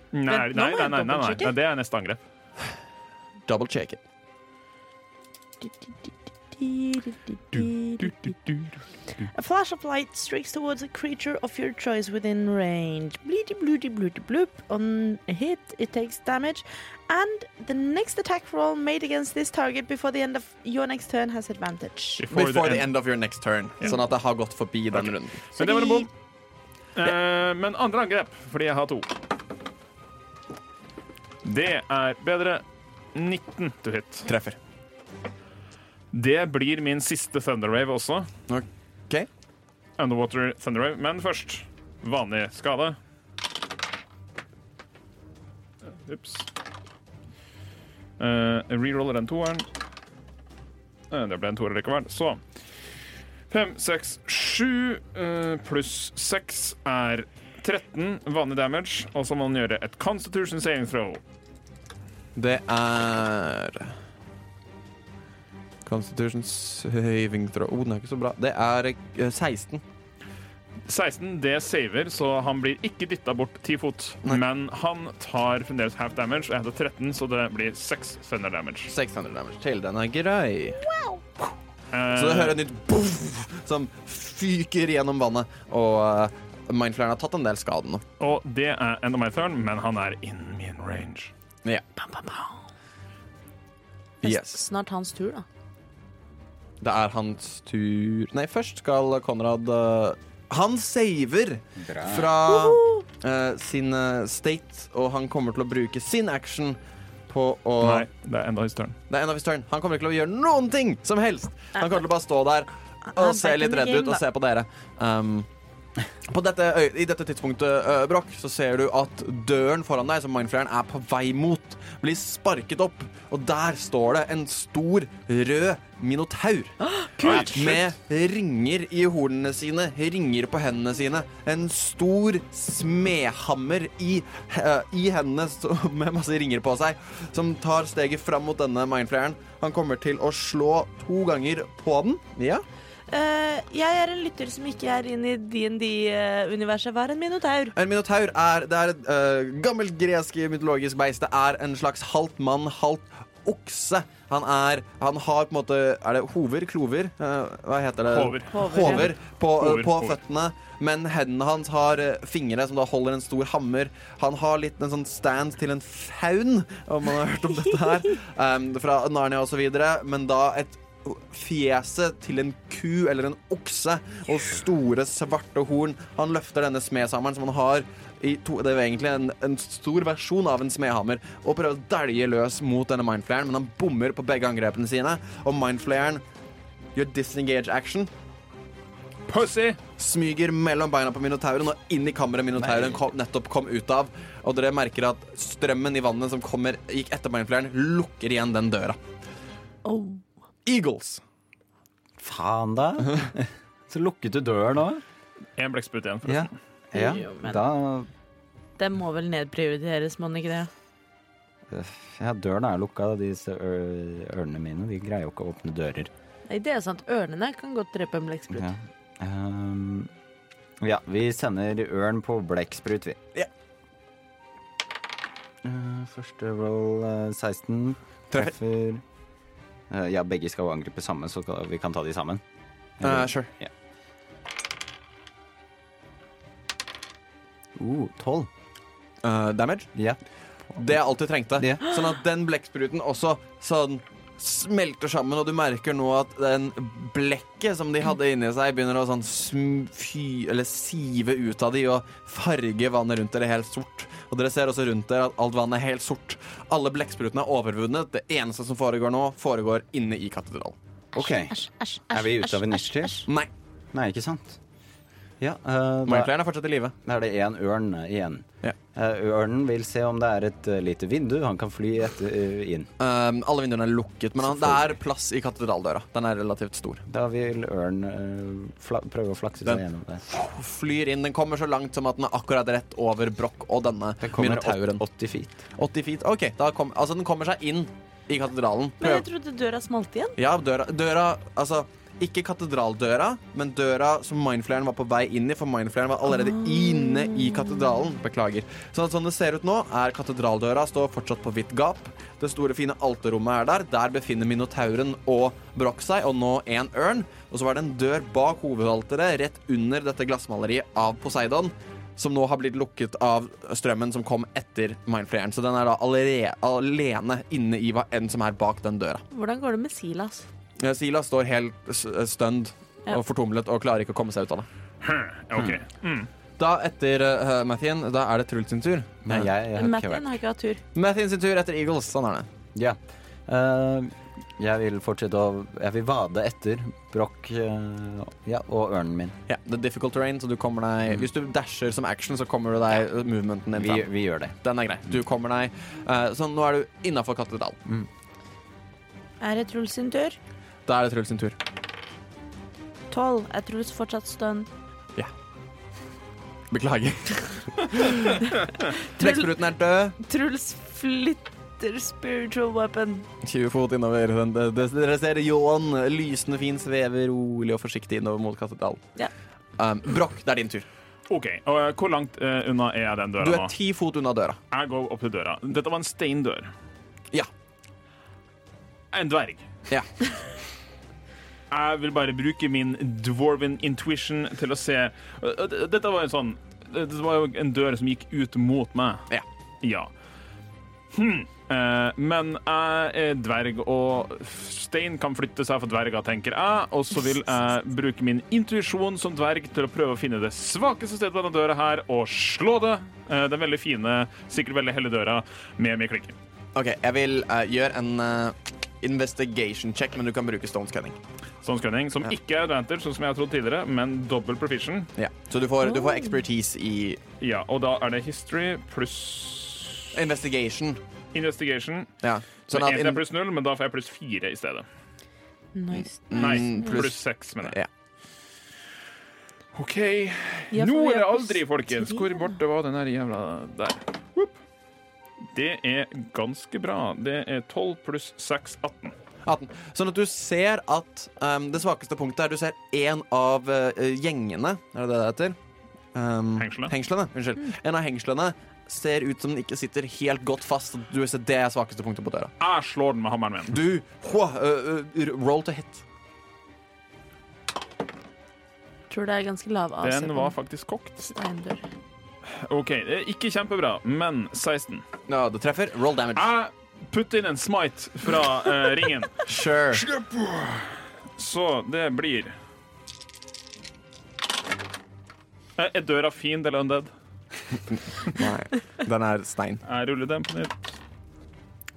Nei, nei,
Vent, nå
nei, nei,
må
nei,
jeg
nei,
dobbeltsjekke.
det er neste angrep.
Double check it.
A flash of light streaks towards a creature of your choice within range. Bleedy bloody bloody bloop. On a hit, it takes damage, and the next attack roll made against this target before the end of your next turn has advantage.
Before
Before
the
the
end.
end of your next turn. Sånn at det har gått forbi den runden.
Men det var en bom. Eh, men andre angrep, fordi jeg har to. Det er bedre. 19 to hit.
Treffer.
Det blir min siste Thunderwave også.
OK.
Underwater Thunderwave. Men først vanlig skade. Ups. Eh, jeg reroller den toeren. Eh, det ble en toer likevel. Så fem, seks, sju eh, pluss seks er 13 vanlig damage. Og så må man gjøre et Constitution saving throw.
Det er Constitution saving throw oh, Den er ikke så bra. Det er eh, 16.
16, det saver, så han blir ikke dytta bort ti fot. Men han tar fremdeles half damage. Jeg hadde 13, så det blir 6 thunder damage.
600 damage til. Den er grei.
Eh,
Så du hører et nytt boff som fyker gjennom vannet, og uh, Mindflayeren har tatt en del skade nå.
og det er end of my turn, men han er in min range.
Ja. Yes.
Snart hans tur, da.
Det er hans tur Nei, først skal Konrad eh, Han saver fra eh, sin eh, state, og han kommer til å bruke sin action på å
Nei, det er enda hans turn.
Det er en av his turn. Han kommer ikke til å gjøre noen ting som helst. Han kommer til å bare stå der og
Han
se
back in
litt
the
redd ut
game,
altså. og
da.
se på dere. Um, på dette, øy- I dette tidspunktet, ø, Broch, så ser du at døren foran deg, som mindflayeren er på vei mot, blir sparket opp, og der står det en stor, rød minotaur. Med ringer i hornene sine, ringer på hendene sine. En stor smedhammer i, eh, i hendene så- med masse ringer på seg, som tar steget fram mot denne mindflayeren. Han kommer til å slå to ganger på den. Ja.
Eh, jeg er en lytter som ikke er inne i DND-universet. eh, Hva er en minotaur?
En minotaur er, det er et eh, gammelt gresk mytologisk beist. Det er en slags halvt mann, halvt okse. Han er Han har på en måte Er det hover? Klover? Eh, hva heter det?
Hover.
Hover, ja.
Hover på, eh,
Hover,
på
hover.
føttene. Men hendene hans har eh, fingre som da holder en stor hammer. Han har litt en sånn stand til en faun, om man har hørt om dette her, em, fra Narnia og så videre, men da et fjeset til en ku eller en okse og store svarte horn. Han løfter denne smedhammeren som han har i to, Det er jo egentlig en, en stor versjon av en smedhammer, og prøver å dælje løs mot denne mindflayeren, men han bommer på begge angrepene sine, og mindflayeren gjør disengage action,
Pussy!
smyger mellom beina på minotauren og inn i kammeret minotauren kom, nettopp kom ut av, og dere merker at strømmen i vannet som kommer, gikk etter mindflayeren, lukker igjen den døra.
Oh.
Eagles.
Faen, da. Så lukket du døren òg.
Én blekksprutt igjen.
Ja. ja.
Jo, men-
Da
Den må vel nedprioriteres, må den ikke det?
Ja, døren er lukka. da. Disse ø- ørene mine de greier jo ikke å åpne dører.
Nei, det er sant. Ørnene kan godt drepe en blekksprut.
Ja, Ehm, ja vi sender ørn på blekksprut, vi.
Ja.
Eh, første roll eh, 16
Treffer.
treffer. Eh, ja, begge skal jo angripe samme, så kan- vi kan ta de sammen.
Eh, sure.
Uh, 12.
Eh, damage.
Ja.
Det jeg alltid trengte.
Ja.
Sånn at den blekkspruten også sånn smelter sammen, og du merker nå at den blekket som de hadde inni seg, begynner å sånn sm- fy, eller sive ut av de og farge vannet rundt dere helt sort. Og dere ser også rundt dere at alt vannet er helt sort. Alle blekksprutene er overvunnet. Det eneste som foregår nå, foregår inne i katedralen.
OK.
Æsj, æsj, æsj.
Er vi ute av
æsj,
initiativ?
æsj, æsj.
Nei.
Nei, ikke sant. Ja, eh, da
Mindflayeren er fortsatt i live.
Da er det én ørn igjen.
Ja.
Eh, ørnen vil se om det er et eh, lite vindu han kan fly etter, eh, inn.
Um, alle vinduene er lukket, men han, det er plass i katedraldøra. Den er relativt stor.
Da vil ørnen eh, fla prøve å flakse
Den-
seg gjennom det.
flyr inn. Den kommer så langt som at den er akkurat rett over Broch og denne
Den kommer
minotauren.
80 feet.
80 feet. OK, da kom, altså den kommer seg inn i katedralen.
Men jeg
Prøv-
trodde døra smalt igjen.
Ja, døra, døra Altså, ikke katedraldøra, men døra som Mindflayeren var på vei inn i, for Mindflayeren var allerede inne i katedralen. Beklager. Sånn, sånn det ser ut nå, er katedraldøra står fortsatt på vidt gap. Det store, fine alterrommet er der. Der befinner minotauren og Broch seg, og nå en ørn. Og så var det en dør bak hovedalteret, rett under dette glassmaleriet av Poseidon. Som nå har blitt lukket av strømmen som kom etter Mindflayeren. Så den er da allerede, alene inne i hva enn som er bak den døra.
Hvordan går det med Silas?
Ja, Eh, Silas står helt s- stønd
Ja.
og fortumlet og klarer ikke å komme seg ut av det. Hmm.
OK.
Da etter uh, Mathien, da er det Truls sin tur.
Nei, jeg, jeg har ikke
Mattien
vært
har ikke hatt tur.
Mathien sin tur etter Eagles. Sånn er det.
Ja. Eh, jeg vil fortsette å Jeg vil vade etter Broch eh, ja, og ørnen min.
Ja, Mm. det er difficult terrain, så du kommer deg Hvis du dasher som action, så kommer du deg eh, movementen din
Vi,
fram.
vi gjør det.
Den er grei. Du kommer deg eh, Sånn, nå er du innafor Kattedal.
Er det Truls sin tur?
Da er det Truls sin tur.
Tolv. Er Truls fortsatt stønn?
Beklager. Blekkspruten er død.
Truls flytter spiritual weapon.
20 fot innover. Den, det, det, dere ser ljåen lysende fin svever rolig og forsiktig innover mot Kattedal.
Ja.
Um, Broch, det er din tur.
Ok, og eh, Hvor langt eh, unna er jeg den
Du
døra
er
nå?
ti fot unna døra.
Jeg går opp til døra. Dette var en steindør.
Ja.
En dverg.
Ja.
Jeg vil bare bruke min dwarven intuition til å se Dette var en sånn Dette var jo en dør som gikk ut mot meg.
Ja.
Ja. Eh, men jeg er dverg, og stein kan flytte seg for dverger, tenker jeg. Og så vil jeg bruke min intuisjon som dverg til å prøve å finne det svakeste stedet på denne døra her, og slå det. Eh, den veldig fine, sikkert veldig hellige døra med min klikke.
OK, jeg vil eh, gjøre en eh, investigation check, men du kan bruke stone scanning.
Sånn skanning, som ikke er advantage, sånn som jeg har trodd tidligere, men dobbel proficient.
Så du får, du
Oh.
får expertise i
Ja, og da er det history pluss
investigation.
investigation.
Ja. Sånn
Sånn
at
Egentlig er det
in,
pluss null, men da får jeg pluss fire i stedet.
Nice.
Nei,
Mm,
pluss
pluss-
seks, mener
ja.
jeg. OK.
Ja, for
Nå eller
vi er pluss
aldri, folkens.
tre.
Hvor borte var den der jævla der? Whoop. Det er ganske bra. Det er 12 pluss 6, 18.
18. Sånn at du ser at um, det svakeste punktet er du ser én av eh, gjengene Er det det det heter? Um,
Hengslene.
Hengslene, unnskyld. En av hengslene ser ut som den ikke sitter helt godt fast. Du ser det er svakeste punktet på døra.
Jeg slår den med hammeren min.
Du hua, øh, øh, Roll to hit.
Tror det er ganske lav AC.
Den var faktisk kokt.
steindør.
OK, det er ikke kjempebra, men 16.
Ja, det treffer. Roll damage.
Ah, Jeg putter inn en smite fra eh, ringen,
Sure.
så det blir Eh, Er døra fiend eller undead?
Nei, den er stein.
Jeg ruller den på nytt.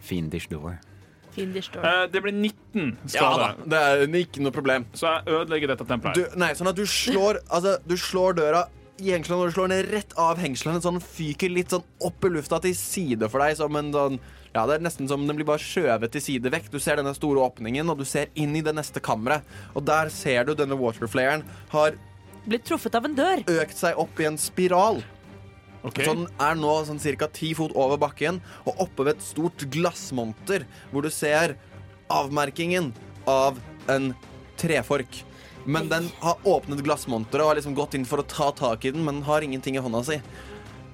Fiendish door.
Fiendish door.
Eh, Det blir 19
Ja
skade,
da, det er ikke noe problem.
så jeg ødelegger dette tempelet.
Du,
her.
nei, sånn at du slår, altså, du slår døra i hengslene, og du slår den rett av hengslene, sånn den fyker litt sånn opp i lufta til side for deg, som en sånn ja, Det er nesten som den blir bare skjøvet til side vekk. Du ser denne store åpningen, og du ser inn i det neste kammeret. Og der ser du denne waterflaren har
Blitt truffet av en dør.
økt seg opp i en spiral.
Ok.
Så den er nå sånn ca. ti fot over bakken, og oppe ved et stort glassmonter, hvor du ser avmerkingen av en trefork. Men den har åpnet glassmonteret og har liksom gått inn for å ta tak i den, men den har ingenting i hånda si.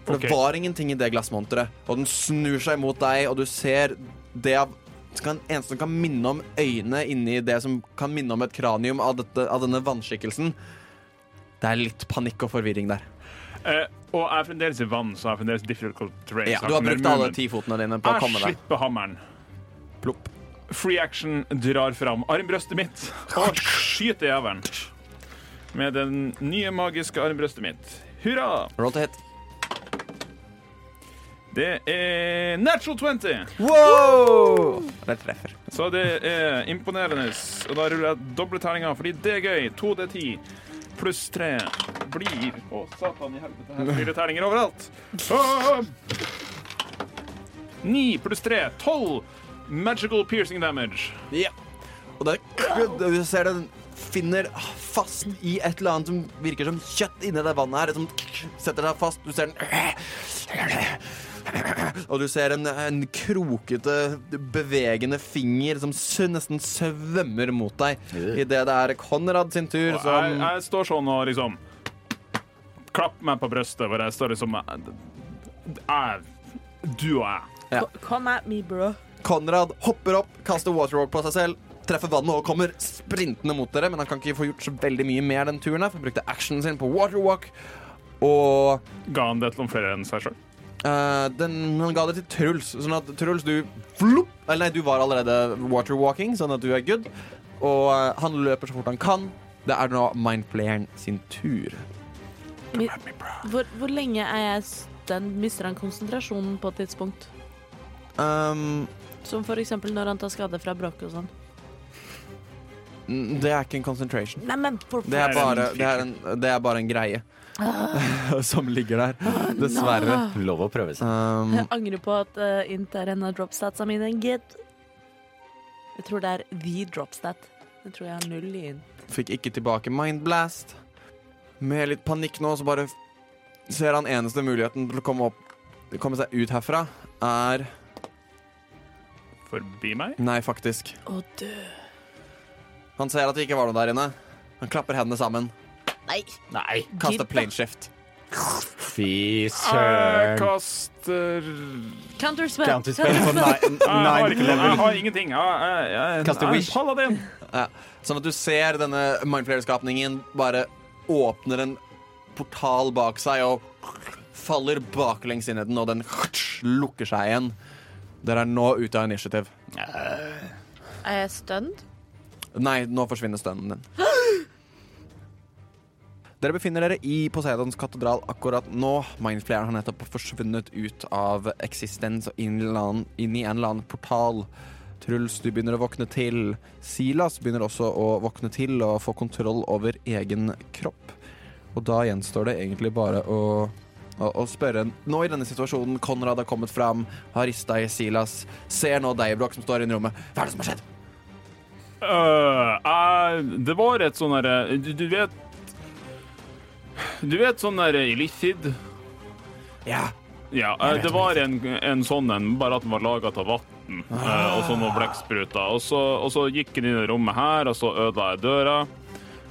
For
Ok.
det var ingenting i det glassmonteret, og den snur seg mot deg, og du ser det av kan, eneste som kan minne om øynene inni det som kan minne om et kranium av, dette, av denne vannskikkelsen. Det er litt panikk og forvirring der.
Eh, og jeg er fremdeles i vann, så jeg er fremdeles difficult terrain.
Ja,
så jeg
du har
kan
brukt
gjøre
alle
movement.
tifotene dine på å komme
Jeg
deg.
slipper hammeren.
Plopp.
Free action drar fram armbrøstet mitt og skyter jævelen. Med den nye magiske armbrøstet mitt. Hurra!
Roll to hit.
Det er natural 20!
Wow! Det treffer.
Så det er imponerende. Og da ruller jeg doble terninger, fordi det er gøy. 2D10 pluss 3 blir Å, satan i helvete, her blir det terninger overalt. Åh! 9 pluss 3 12 magical piercing damage.
Og det, du ser den finner fast i et eller annet som virker som kjøtt inni det vannet her. Som setter seg fast. Du ser den Og du ser en, en krokete, bevegende finger som sø- nesten svømmer mot deg. Idet det er Konrad sin tur,
Og jeg,
som
jeg står sånn og liksom klapper meg på brystet, hvor jeg står liksom jeg, Du og jeg.
Ja.
Co- Come at me, bro.
Konrad hopper opp, kaster waterwalk på seg selv, treffer vannet og kommer sprintende mot dere, men han kan ikke få gjort så veldig mye mer den turen her, for han brukte actionen sin på waterwalk. Og
Ga han det til noen flere enn seg sjøl?
eh, den, han ga det til Truls, sånn at Truls, du flopp, Eller nei, du var allerede waterwalking, sånn at du er good. Og eh, han løper så fort han kan. Det er nå Mindplayeren sin tur.
Mi- Hvor, hvor lenge er jeg stunned? Mister han konsentrasjonen på et tidspunkt?
Um,
Som for eksempel når han tar skade fra bråket og sånn.
det er ikke en concentration.
Nei, men for
Det er
Det er en
bare, det er en, det er bare en greie
Ah,
som ligger der, dessverre.
Lov å prøve seg.
Um,
Jeg angrer på at eh, int er en av dropstatsa mine, gitt. Jeg tror det er the dropstat. Jeg tror jeg har null i int.
Fikk ikke tilbake Mindblast. Med litt panikk nå, så bare ser han eneste muligheten til å komme, opp, komme seg ut herfra, er
Forbi meg?
Nei, faktisk.
Å, dø.
Han ser at det ikke var noe der inne. Han klapper hendene sammen,
Nei.
Nei,
kaster plane shift.
fy
Jeg
søren.
kaster
Counterspell.
Counterspell på ni-
Ah, Jeg har, ikke,
ninth
jeg
level.
har ingenting. Jeg, jeg, jeg,
Kaster
jeg er en
wish.
paladin.
Sånn at du ser denne Mindflayer-skapningen bare åpner en portal bak seg og faller baklengs inn i den, og den lukker seg igjen. Dere er nå ute av initiativ.
Er jeg stunned?
Nei, nå forsvinner stønnen din. Dere befinner dere i Poseidons katedral akkurat nå. Mindflayeren har nettopp forsvunnet ut av eksistens og inn, i en eller annen- inn i en eller annen portal. Truls, du begynner å våkne til. Silas begynner også å våkne til og få kontroll over egen kropp. Og da gjenstår det egentlig bare å, å, å spørre Nå i denne situasjonen, Konrad har kommet fram, har rista i Silas, ser nå Deibrok som står inne i rommet. Hva er det som har skjedd?
Øh, jeg- det var et sånn derre du, du vet Du vet sånn der Elithid?
Ja,
Ja, eh, det var en, en sånn en, bare at den var laga av vann eh, og så noen blekkspruter. Og, så- og så gikk den inn i rommet her, og så ødela jeg døra.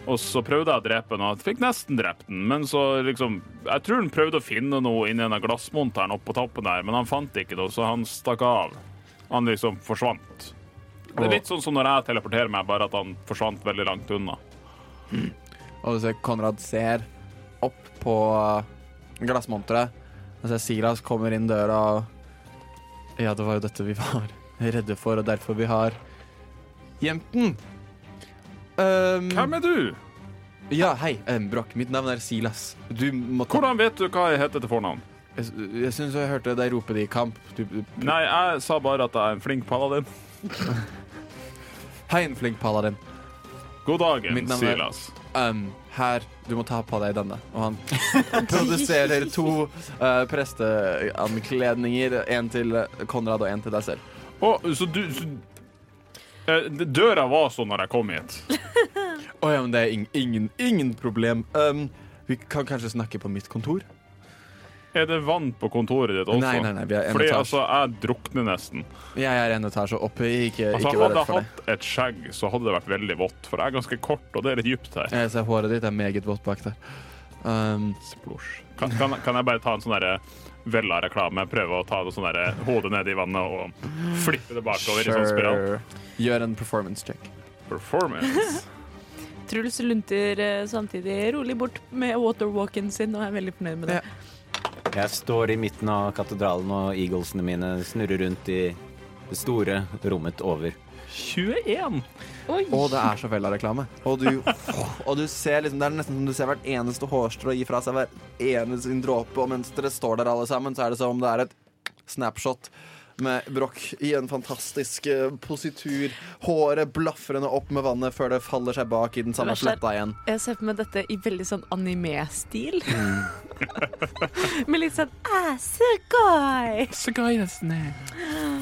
Og så prøvde jeg å drepe den, og jeg fikk nesten drept den. Men så liksom Jeg tror han prøvde å finne noe inni den glassmonteren oppe på tappen der, men han fant ikke det, så han stakk av. Han liksom forsvant. Det er litt sånn som når jeg teleporterer meg, bare at han forsvant veldig langt unna.
Og du ser Konrad ser opp på eh, glassmonteret. Og ser Silas kommer inn døra og Ja, det var jo dette vi var redde for, og derfor vi har gjemt den. Ehm,
Hvem er du?
ja, hei, um, Brokk. Mitt navn er Silas. Du må ta
Hvordan vet du hva jeg heter til fornavn?
Jeg, jeg syns jeg hørte deg rope det i kamp. Du,
Nei, jeg sa bare at jeg er en flink paladin.
hei, en flink paladin.
God
Mitt
dagen,
navn er-
Silas.
Ehm, her, du må ta på deg denne. Og han produserer to eh, presteankledninger. En til Konrad og en til deg selv.
Å, så du så, eh, d- Døra var sånn når jeg kom hit.
Å ja, men det er ing- ingen, ingen problem. Ehm, vi kan kanskje snakke på mitt kontor?
Er det vann på kontoret ditt også?
Nei, nei, nei, vi er en
Fordi
etasje.
altså, jeg drukner nesten.
Jeg er en etasje oppe. Ikke,
Altså,
Eh, ikke vær
hadde
redd
jeg
for det.
hatt et skjegg, så hadde det vært veldig vått. For jeg er ganske kort, og det er litt dypt her.
Jeg ser håret ditt er meget vått bak der. Ehm,
Splosj. Kan, kan, kan jeg bare ta en sånn derre Vella-reklame? Prøve å ta det sånn derre hodet ned i vannet og flippe det bakover i sånn spiral?
Gjør en performance check.
Performance.
Truls lunter eh, samtidig rolig bort med waterwalken sin og er veldig fornøyd med det.
Jeg står i midten av katedralen, og eaglesene mine snurrer rundt i det store rommet over.
21.
Oi!
Og det er så vel av reklame. Og du, og du ser liksom, det er nesten som du ser hvert eneste hårstrå gi fra seg hver eneste sin dråpe, og mens dere står der alle sammen, så er det som om det er et snapshot med Broch i en fantastisk eh, positur. Håret blafrende opp med vannet før det faller seg bak i den samme
Det verste er-
sletta igjen.
Jeg ser for meg dette i veldig sånn anime-stil.
Mm.
med litt sånn ah, Sugoi!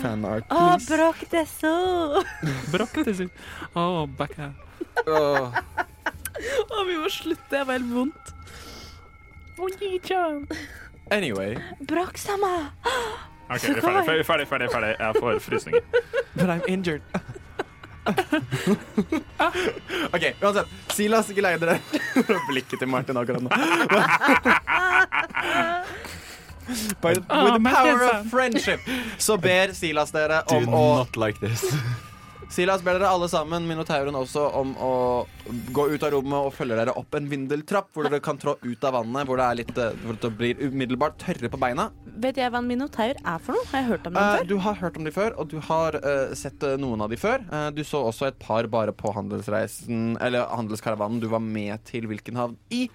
Fanart,
Ah,
please.
brok deso!
Åh.
Å, vi må slutte, det var helt vondt.
Anyway,
Brok sama!
OK, vi er ferdig, ferdig, ferdig, ferdig, ferdig. Jeg får frysninger.
but I'm injured. OK, uansett. Silas geleider dere blikket til Martin akkurat nå. By the,
Ah,
with the power of friendship så ber Silas dere om å
like this.
Silas ber dere alle sammen, Minotauren også, om å gå ut av rommet og følge dere opp en vindeltrapp, hvor dere kan trå ut av vannet, hvor det, er litt, eh, hvor det blir umiddelbart tørre på beina.
Vet jeg hva en minotaur er for noe? Har jeg hørt om den
Eh,
før?
du har hørt om de før, og du har eh, sett eh, noen av de før. Eh, du så også et par bare på handelsreisen Eller handelskaravanen du var med til hvilken havn i?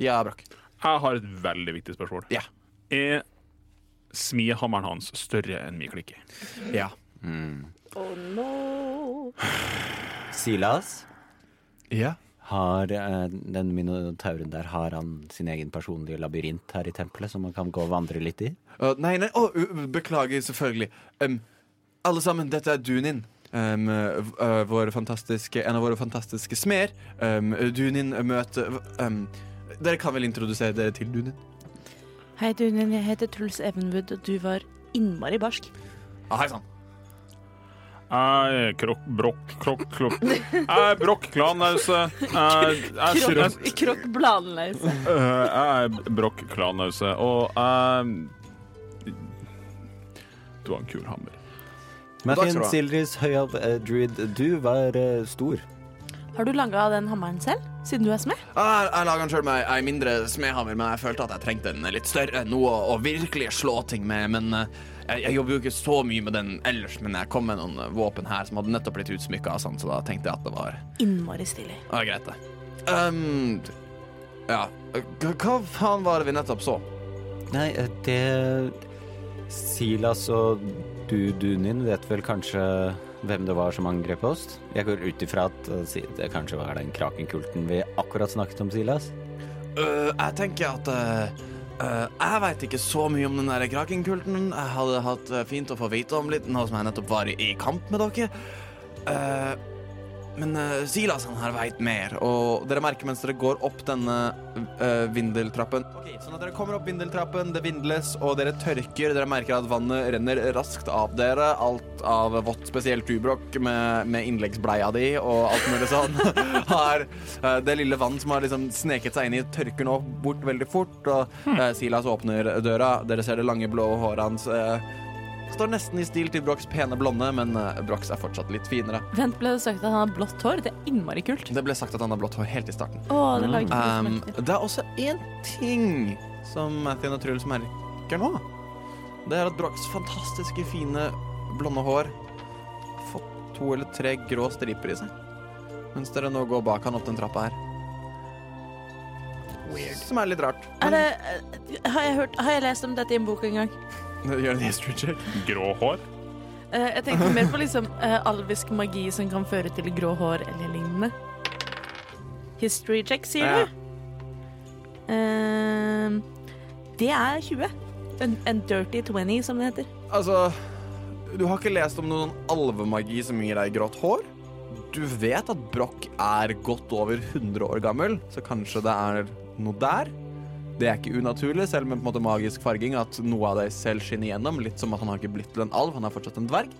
Ja, Brakk.
Jeg har et veldig viktig spørsmål.
Ja.
Er smihammeren hans større enn min klikke?
Ja.
Mm.
Oh, no.
Silas,
ja.
har eh, den minotauren der har han sin egen personlige labyrint her i tempelet, som man kan gå og vandre litt i?
Eh, nei, nei, å, u- u- beklager, selvfølgelig. Em, alle sammen, dette er Dunin. Em, eh, v- eh, vår fantastiske, en av våre fantastiske smeder. Em, Dunin møter em, Dere kan vel introdusere dere til Dunin?
Hei, Dunin. Jeg heter Truls Evenwood, og du var innmari barsk.
Ah, hei sann.
Jeg er krokk, brokk, krokk, klokk Jeg er brokk klanlause. Jeg jeg synes-
Krokk, krokk bladløse.
Øh, jeg er brokk klanlause, og jeg Du har en kul hammer.
Martin
skal du ha.
Sildris, høyalv eh, druid, du var eh, stor.
Har du laga den hammeren selv? siden du er smed?
Jeg, jeg laga sjøl meg ei mindre smedhammer, men jeg følte at jeg trengte en litt større, noe å, å virkelig slå ting med. Men eh, jeg, jeg jobber jo ikke så mye med den ellers, men jeg kom med noen eh, våpen her som hadde nettopp blitt utsmykka, sånn, så da tenkte jeg at det var
Innmari stilig.
det var greit, det. Um, ja, H hva faen var det vi nettopp så?
Nei, eh, det Silas og du, Dunin, vet vel kanskje hvem det var som angrep oss? Jeg går ut ifra at eh, si- det kanskje var den krakenkulten vi akkurat snakket om, Silas?
Øh, jeg tenker at øh, øh, Jeg veit ikke så mye om den der krakenkulten. Jeg hadde hatt øh, fint å få vite om litt, nå som jeg nettopp var i, i kamp med dere. Øh, men øh, Silas han her veit mer, og dere merker mens dere går opp denne øh, vindeltrappen Ok, Sånn at dere kommer opp vindeltrappen, det vindles, og dere tørker. Dere merker at vannet renner raskt av dere. Alt av vått, spesielt Tubrok med, med innleggsbleia di og alt mulig sånn. har eh, det lille vannet som har liksom sneket seg inn i, tørker nå bort veldig fort. Og eh, Silas åpner døra. Dere ser det lange, blå håret hans. eh, står nesten i stil til Brochs pene blonde, men eh, Brox er fortsatt litt finere.
Vent, ble det sagt at han har blått hår? Det er innmari kult.
Det ble sagt at han har blått hår helt i starten.
Å, det lager
Um,
ikke
det er også én ting som Mathien og Truls merker nå. Det er at Brochs fantastiske fine blonde hår har fått to eller tre grå striper i seg. Mens dere nå går bak han opp den trappa her. Som er litt rart.
er det, eh, har, jeg hørt, har jeg lest om dette i en bok en gang?
Gjør en history check.
Grå hår?
Eh, jeg tenkte mer på liksom eh, alvisk magi som kan føre til grå hår eller lignende. History check, sier
Ja.
du? Eh, det er 20. En, en dirty 20, som det heter.
Altså, du har ikke lest om noen alvemagi som gir deg grått hår? Du vet at Broch er godt over 100 år gammel, så kanskje det er noe der? Det er ikke unaturlig, selv med på en måte magisk farging, at noe av deg selv skinner gjennom. Litt som at han har ikke blitt til en alv, han er fortsatt en dverg.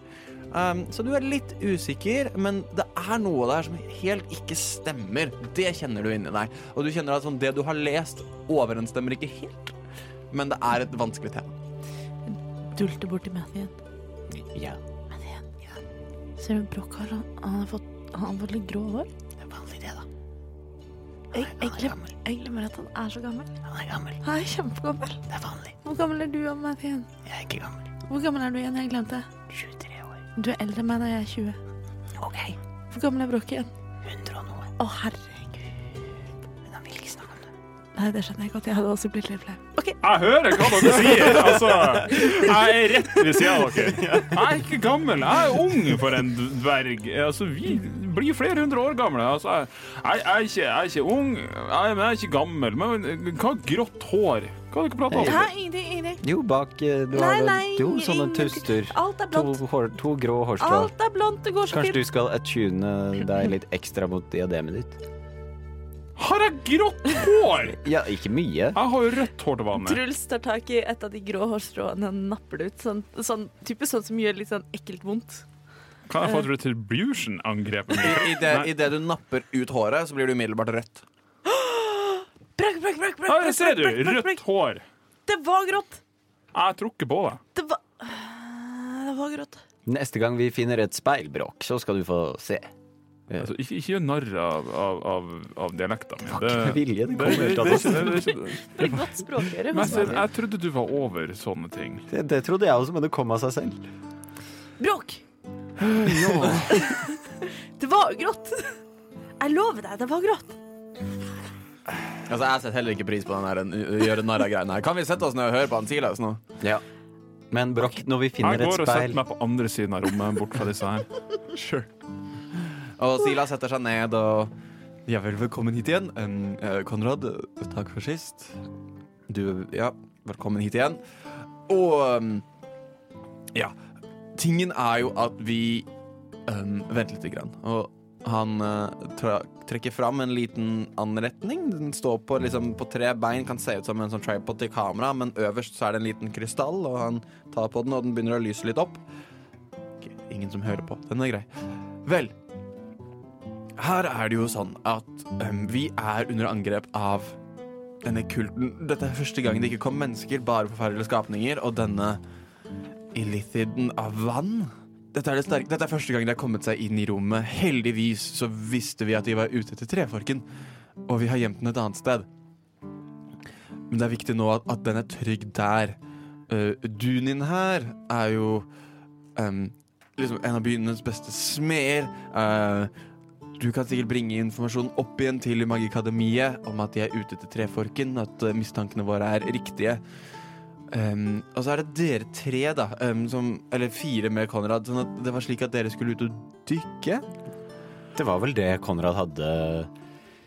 Um, så du er litt usikker, men det er noe der som helt ikke stemmer. Det kjenner du inni deg. Og du kjenner at sånn, det du har lest, overensstemmer ikke helt. Men det er et vanskelig tema.
Dulte borti Mathien.
Ja.
Mathien. Ser du Broch har han, han har fått han har fått litt grå hår? Det er vanlig, det, da. Jeg, jeg, glem, jeg glemmer at han er så gammel. Han er gammel. Han er kjempegammel. Det er vanlig. Hvor gammel er du, Mathien?
Jeg er ikke gammel.
Hvor gammel er du igjen? Jeg glemte.
23 år.
Du er eldre enn meg da jeg er 20.
OK.
Hvor gammel er Broch igjen?
100 og noe.
Å, herregud.
Men han vil ikke snakke om det.
Nei, det skjønner jeg godt. Jeg hadde også blitt litt flau. OK,
Jeg hører hva dere sier! Altså, jeg er rett ved sida av dere. Jeg er ikke gammel, jeg er ung for en dverg. Altså, vi blir flere hundre år gamle. Altså, jeg, jeg, jeg, er ikke, jeg er ikke ung, jeg, men jeg er ikke gammel. Men hva er grått hår? Hva har dere prata om?
Hæ, ingenting, ingenting.
Jo, bak eh, Du
Nei,
har
nei,
vel- jo
ingen-
sånne
ingen-
tuster.
Alt er
To,
blondt.
hår, to grå hårstrå.
Alt er blondt. Det går så
Kanskje
fint.
du skal attune deg litt ekstra mot diademet ditt?
Har jeg grått hår?!
Ja, ikke mye.
Jeg har jo rødt hår til vanlig.
Truls tar tak i et av de grå hårstråene og napper det ut. Sånn, sånn, typisk sånn som gjør litt sånn ekkelt vondt.
Kan jeg få et retribution-angrep?
I det, i det du napper ut håret, så blir du umiddelbart rødt.
Brakk, brakk, brakk, brakk,
Her
brakk,
ser du!
brakk, brakk, brakk,
Rødt hår.
brakk. Det var grått!
Jeg tror ikke på det.
Det var Øh, Det var grått.
Neste gang vi finner et speilbråk, så skal du få se.
Altså, ikke, ikke gjør narr av, av, av, av dialekta mi. Det,
Med
det,
vilje, det
det,
kommer
det,
ut av
det,
oss.
det, det, det,
Det er godt språkøre.
Men jeg, jeg trodde du var over sånne ting.
Det, det trodde jeg også, men det kom av seg selv.
Bråk! Det var jo grått. Jeg lover deg, det var grått.
Altså, Jeg setter heller ikke pris på den her, uh, gjøre narr av greiene her. Kan vi sette oss ned og høre på han Silas nå?
Ja. Men Broch, når vi
Jeg
finner et
går og setter
speil
meg på andre siden av rommet, bort fra disse her. Sure.
Og Silas setter seg ned og Ja vel, velkommen hit igjen. Um, eh, Konrad, eh, takk for sist. Du Ja, velkommen hit igjen. Og um, Ja. Tingen er jo at vi um, Vent lite grann. Og han eh, tra trekker fram en liten anretning. Den står på, liksom, på tre bein, kan se ut som en sånn tripod til kamera, men øverst så er det en liten krystall, og han tar på den, og den begynner å lyse litt opp. Ok, Ingen som hører på. Den er grei. Vel, her er det jo sånn at øhm, vi er under angrep av denne kulten. Dette er første gang det ikke kom mennesker, bare forferdelige skapninger, og denne illithiden av vann. Dette er, det sterk- Dette er første gang de har kommet seg inn i rommet. Heldigvis så visste vi at de var ute etter treforken. og vi har gjemt den et annet sted. Men det er viktig nå at, at den er trygg der. Eh, Dunin her er jo em, liksom en av byenes beste smeder. Eh, du kan sikkert bringe informasjon opp igjen til Magikademiet om at de er ute etter Treforken, at eh, mistankene våre er riktige. Em, og så er det dere tre, da, em, som, eller fire med Konrad. Sånn at det var slik at dere skulle ut og dykke.
Det var vel det Konrad hadde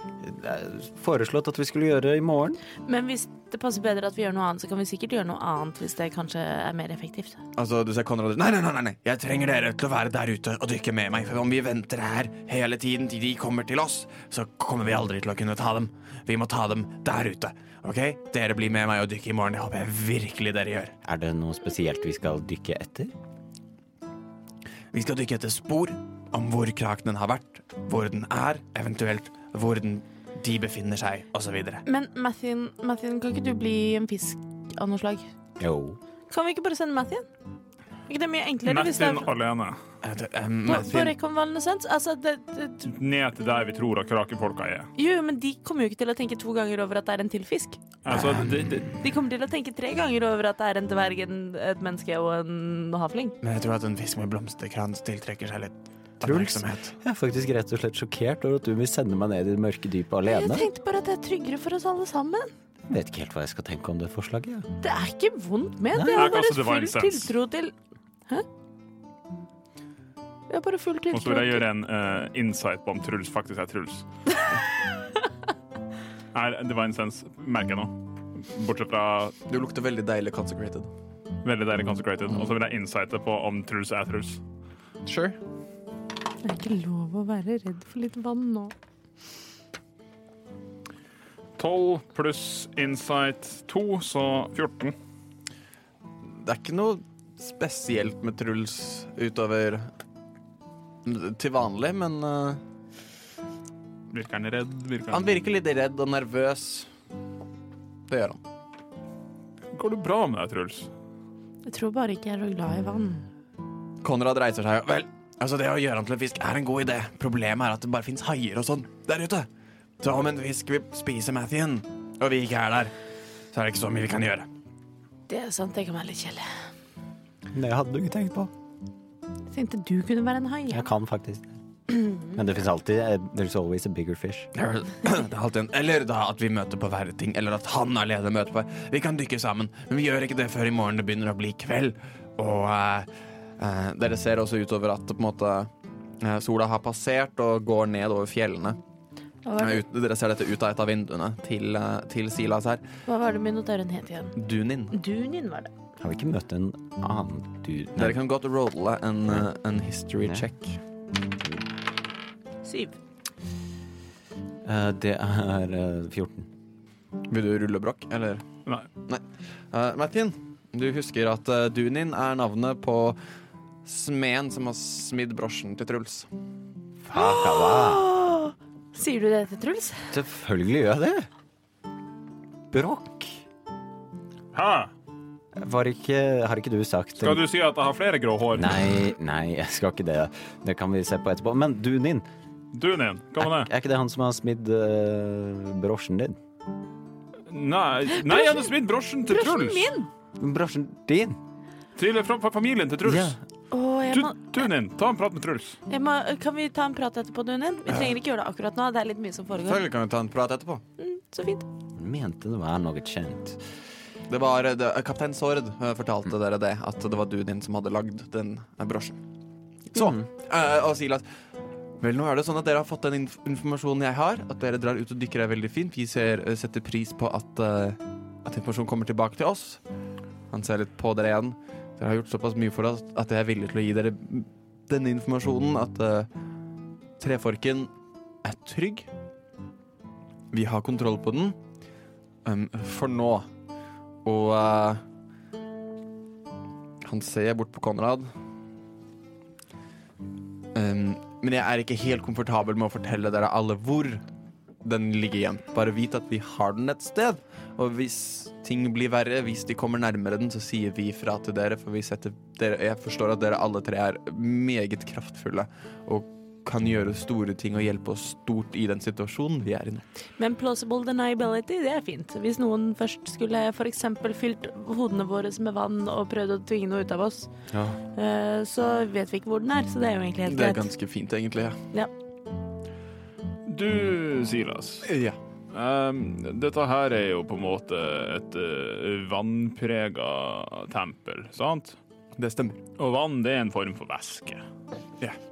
eh, foreslått at vi skulle gjøre i morgen.
Men hvis det passer bedre at vi gjør noe annet, så kan vi sikkert gjøre noe annet hvis det kanskje er mer effektivt.
Altså, du ser Konrad Nei, nei, nei, nei, nei. jeg trenger dere til å være der ute og dykke med meg. For om vi venter her hele tiden til de kommer til oss, så kommer vi aldri til å kunne ta dem. Vi må ta dem der ute. OK? Dere blir med meg og dykker i morgen. Det håper jeg virkelig dere gjør.
Er det noe spesielt vi skal dykke etter?
Vi skal dykke etter spor om hvor krakenen har vært, hvor den er, eventuelt hvor den, de befinner seg, osv.
Men Mathien, Mathien, kan ikke du bli en fisk av noe slag?
Jo.
Kan vi ikke bare sende Mathien? Er ikke det mye enklere? hvis det er
Mattin alene.
på, på rekonvalesens? Altså, det, det,
Ned til der vi tror at krakefolka er.
jo, men de kommer jo ikke til å tenke to ganger over at det er en til fisk.
Altså, det, det,
De kommer til å tenke tre ganger over at det er en dverg, en, et menneske og en havling.
Men jeg tror at en fisk med blomsterkrans tiltrekker seg litt
Truls.
oppmerksomhet.
Jeg er faktisk rett og slett sjokkert over at du vil sende meg ned i det mørke dypet
Jeg
alene.
tenkte bare at det er tryggere for oss alle sammen.
Jeg vet ikke helt hva jeg skal tenke om det forslaget. jeg.
Det er ikke vondt med det.
Nei.
Jeg har
Jeg
bare
kaster divine
full
sense.
tiltro til Hæ? Jeg har bare full
og
tiltro
så vil jeg
til
gjøre en eh, insight på om Truls faktisk er Truls. Er, det var en sens, merker jeg nå. Bortsett fra
Du lukter veldig deilig consecrated.
veldig deilig consecrated. Og så vil jeg insighte på om Truls er Truls.
Sure.
Det er ikke lov å være redd for litt vann nå.
12 pluss insight 2, så 14.
Det er ikke noe spesielt med Truls utover til vanlig, men eh,
Virker han redd? Virker
han
han
virker litt redd og nervøs. Det gjør han.
Går det bra med deg, Truls?
Jeg tror bare ikke jeg er så glad i vann.
Konrad reiser seg. Vel, altså det å gjøre han til en fisk er en god idé. Problemet er at det bare fins haier og sånn der ute. Så om en fisk vil spise Mathien, og vi ikke er der, så er det ikke så mye vi kan gjøre.
Det er sant, det kan være litt kjedelig.
Det hadde du ikke tenkt på.
Jeg tenkte du kunne være en hai.
Jeg kan faktisk det. Men det fins alltid eh, There's always a bigger fish.
Det er alltid en Eller da at vi møter på verre ting, eller at han alene møter på Vi kan dykke sammen, men vi gjør ikke det før i morgen det begynner å bli kveld. Og eh, eh, dere ser også utover at på en måte eh, sola har passert og går ned over fjellene.
Hva var,
Eh,
det,
ut, dere ser dette ut av et av vinduene til, eh, til Silas her.
hva var det minotauren het igjen?
Dunin.
Dunin var det.
Har vi ikke møtt en annen du... Nei,
Dere kan godt rolle en, eh, en history
Ja.
check.
Syv.
eh, det er eh, 14.
Vil du rulle brokk, eller?
Nei.
Uh, Martin, du husker at eh, Dunin er navnet på smeden som har smidd brosjen til Truls.
Sier du det til Truls?
Selvfølgelig gjør jeg det. Bråk.
Hæ?
Var ikke, har ikke du sagt
Skal du si at jeg har flere grå hår?
Nei, nei, jeg skal ikke det. Det kan vi se på etterpå. Men du, Nin,
Du, Nin. Hva
er,
med det?
er ikke det han som har smidd eh, brosjen din?
Nei, nei jeg hadde smidd brosjen til
Brosjen
Truls.
min!
Brosjen din?
Til fra, fra familien til Truls.
Ja.
Åh, jeg
Du,
må,
du, Nin, ta en prat med Truls.
jeg må, kan vi ta en prat etterpå, Dunin? Vi trenger ikke gjøre det akkurat nå. Det er litt mye som foregår. Mm,
Selvfølgelig kan vi ta en prat etterpå.
Så fint.
Mente det var noe kjent.
Det var, det, Kaptein Sord eh, fortalte dere det, at det var du din som hadde lagd den eh, brosjen. Så, eh, og Silas Vel, nå er det sånn at dere har fått den inf informasjonen jeg har, at dere drar ut og dykker er veldig fint. Vi ser, eh, setter pris på at, eh, at informasjonen kommer tilbake til oss. Han ser litt på dere igjen. Dere har gjort såpass mye for oss at jeg er villig til å gi dere denne informasjonen, at eh, treforken er trygg. Vi har kontroll på den. Um, for nå. Og eh, han ser bort på Konrad. Ehm, men jeg er ikke helt komfortabel med å fortelle dere alle hvor den ligger igjen. Bare vit at vi har den et sted. Og hvis ting blir verre, hvis de kommer nærmere den, så sier vi fra til dere. For vi setter dere Jeg forstår at dere alle tre er meget kraftfulle og kan gjøre store ting og hjelpe oss stort i den situasjonen vi er i nå.
Men plausible deniability, det er fint. Hvis noen først skulle f.eks. fylt hodene våre med vann og prøvd å tvinge noe ut av oss,
Ja.
eh, så vet vi ikke hvor den er, så det er jo egentlig helt
Det er
greit.
ganske fint, egentlig. ja.
Du, Silas.
Ja.
ehm, dette her er jo på en måte et uh, vannprega tempel, sant?
Det stemmer.
Og vann, det er en form for væske.
Ja.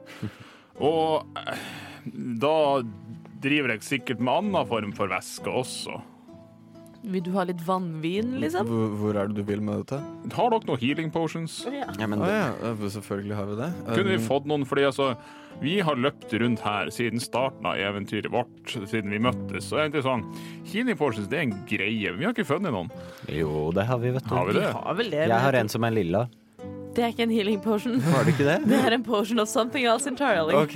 Og eh, da driver jeg sikkert med annen form for væske også.
Vil du ha litt vannvin, liksom?
Hvor, hvor er det du vil med dette?
Har dere noen healing potions?
Ja, men
Å ja, eh, selvfølgelig har vi det.
Kunne vi
Um,
fått noen? Fordi altså, vi har løpt rundt her siden starten av eventyret vårt, siden vi møttes. Så egentlig sånn, healing potions, det er en greie. men Vi har ikke funnet noen.
Jo, det har vi, vet du.
Har vi det?
Har vel det.
Jeg har en som er lilla.
Det er ikke en healing potion.
Har du ikke det?
Det er en potion of something else entirely.
Ok.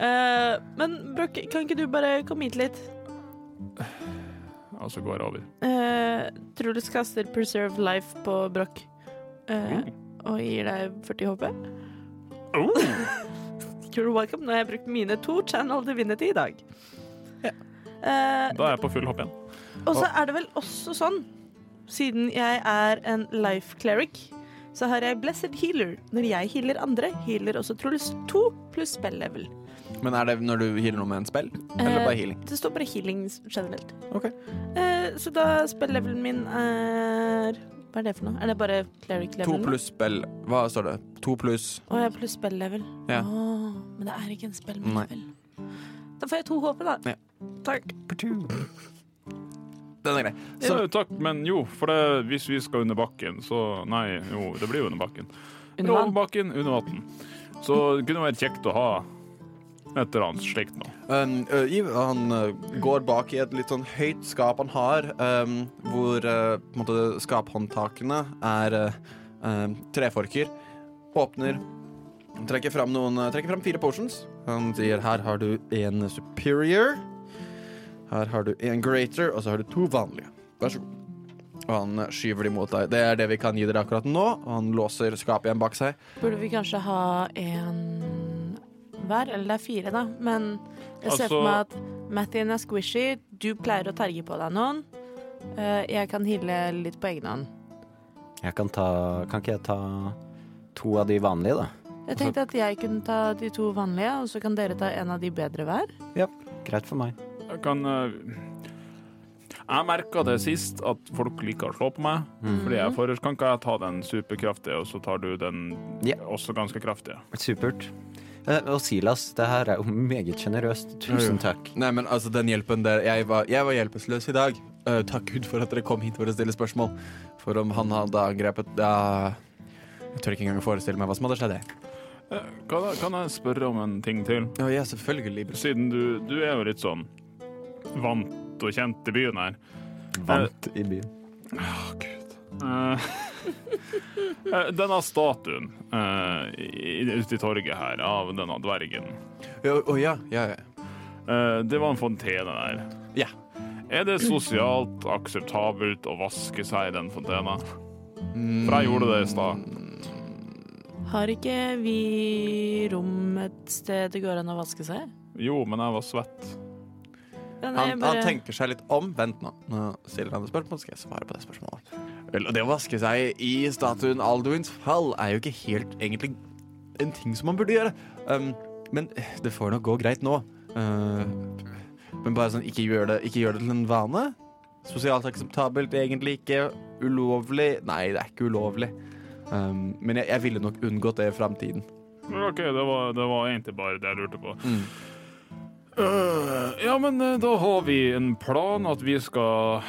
Eh, men Brooke, kan ikke du bare komme hit litt?
Og så går det over.
Eh, Truls kaster Preserve Life på Brokk eh, og gir deg 40 HP.
Oh.
You're welcome. Nå har jeg brukt mine to channel divinity i dag. Eh,
Da er jeg på full hopp igjen.
og så er det vel også sånn, siden jeg er en life cleric, så har jeg blessed healer. Når jeg healer andre, healer også Truls 2 pluss spell level.
men er det når du healer noe med en spell? Eller
Eh,
bare healing?
Det står bare healing generelt.
Ok.
Eh, så da spell-levelen min er Hva er det for noe? Er det bare
To
cleric-levelen?
pluss spell. Hva står det? To pluss
Å, jeg er pluss spell-level.
Ja.
Åh, men det er ikke en spell med
Nei.
level. Da får jeg to HP, da.
Ja.
Takk.
Den er grei.
Så, Eh, takk, men jo, for det, hvis vi skal under bakken, så Nei, jo, det blir jo under bakken.
Under
Over
vann.
bakken, under vann. Så det kunne vært kjekt å ha et eller annet slikt nå.
Um, ø, Iv han ø, går bak i et litt sånn høyt skap han har, um, hvor ø, på en måte skaphåndtakene er ø, ø, treforker. Åpner, trekker fram, noen, ø, trekker fram fire potions. Han sier her har du en superior, her har du en greater, og så har du to vanlige. Vær så god. Og han ø, skyver de mot deg. Det er det vi kan gi dere akkurat nå. Og han låser skapet igjen bak seg.
Burde vi kanskje ha en hver? Eller det er fire, da. Men jeg ser
Altså-
for meg at Mathien er squishy. Du pleier å terge på deg noen. Eh, jeg kan heale litt på egen hånd.
Jeg kan ta Kan ikke jeg ta to av de vanlige, da?
Jeg tenkte at jeg kunne ta de to vanlige, og så kan dere ta en av de bedre hver.
Greit for meg.
Jeg kan eh, Jeg merka det sist at folk liker å slå på meg.
Mm.
Fordi jeg for, Kan ikke jeg ta den superkraftige, og så tar du den
Ja.
også ganske kraftige?
Supert. Eh, Og Silas, det her er jo meget sjenerøst. Tusen takk.
Nei, men altså, den hjelpen der Jeg var, jeg var hjelpeløs i dag. Eh, takk Gud for at dere kom hit for å stille spørsmål. For om han hadde angrepet da Jeg tør ikke engang forestille meg hva som hadde skjedd. jeg.
Eh, Kan, jeg- kan jeg spørre om en ting til?
Å, ja, selvfølgelig. Brus.
Siden du, du er jo litt sånn vant og kjent i byen her.
Vant i byen.
Eh, eh, denne statuen eh, i- i- ute i torget her av denne dvergen
Ja, Å ja, ja, ja.
Eh, Det var en fontene der.
Ja.
Er det sosialt akseptabelt å vaske seg i den fontena? For jeg gjorde det i stad.
Mm.
Har ikke vi rom et sted det går an å vaske seg?
Jo, men jeg var svett.
Ja, nei, jeg
Han,
bare-
han tenker seg litt om. Vent nå. Nå stiller han et spørsmål, skal jeg svare på det spørsmålet. Vel, og det å vaske seg i statuen Alduins fall er jo ikke helt egentlig en ting som man burde gjøre. Um, men det får nok gå greit nå. Uh, men bare sånn, ikke gjør, det, ikke gjør det til en vane. Sosialt akseptabelt, egentlig ikke. Ulovlig. Nei, det er ikke ulovlig. Um, men jeg, jeg ville nok unngått det i framtiden.
Men OK, det var, det var egentlig bare det jeg lurte på.
Mm.
Øh, ja, men eh, da har vi en plan at vi skal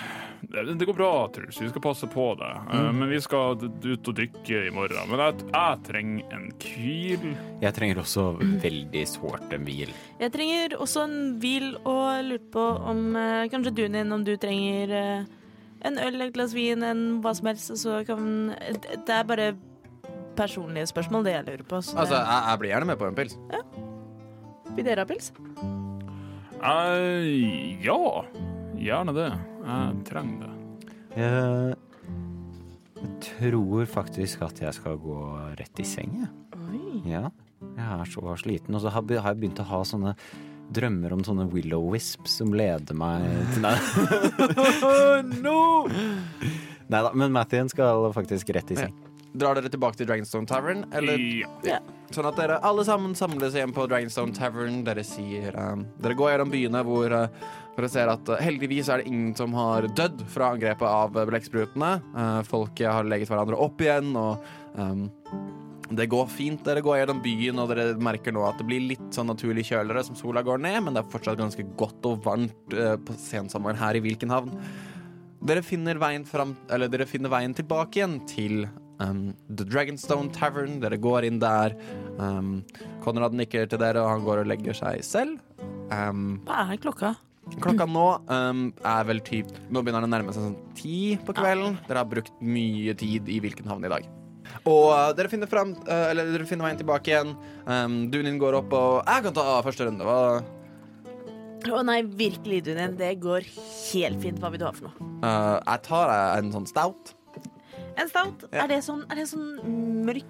Det det går bra, Truls. Vi skal passe på deg. Eh, Men vi skal d- ut og dykke i morgen. Men jeg, jeg trenger en hvil.
Jeg trenger også veldig sårt en hvil.
Jeg trenger også en hvil og lurte på om eh, Kanskje du, Nin, om du trenger eh, en øl, et glass vin, en hva som helst, og så kan Det det er bare personlige spørsmål, det jeg lurer på. Så
Altså, jeg, jeg blir gjerne med på en pils.
det, vil dere ha pils?
Eh, ja, gjerne det. Jeg trenger det.
Eh,
Jeg jeg tror faktisk at jeg skal gå rett i seng, jeg.
Oi.
Ja.
Jeg er så sliten. Og så har be- har jeg begynt å ha sånne drømmer om sånne willow wisps som leder meg til Nei. Neida, men Mathien skal faktisk rett i seng.
Drar dere tilbake til Dragonstone Tavern? Eller
Ja.
sånn at dere alle sammen samles igjen på Dragonstone Tavern. Dere sier eh, Dere går gjennom byene hvor eh, dere ser at eh, heldigvis er det ingen som har dødd fra angrepet av eh, blekksprutene. Eh, folket har leget hverandre opp igjen, og eh, det går fint. Dere går gjennom byen, og dere merker nå at det blir litt sånn naturlig kjøligere som sola går ned, men det er fortsatt ganske godt og varmt eh, på sensommeren her i Vilkenhavn. Dere finner veien, fram, eller dere finner veien tilbake igjen til um, The Dragonstone Tavern. Dere går inn der. Um, Konrad nikker til dere, og han går og legger seg selv. Um,
Hva er klokka?
klokka nå um, er vel typ Nå begynner det å nærme seg sånn ti på kvelden. Dere har brukt mye tid i hvilken havn i dag. Og uh, dere, finner fram, uh, eller dere finner veien tilbake igjen. Um, Dunin går opp, og jeg kan ta første runde. Hva,
Å nei, virkelig, Dunin. Det går helt fint. Hva vil du ha for noe?
uh, jeg tar uh, en sånn stout.
En stout?
Ja.
Er det sånn, er det sånn mørk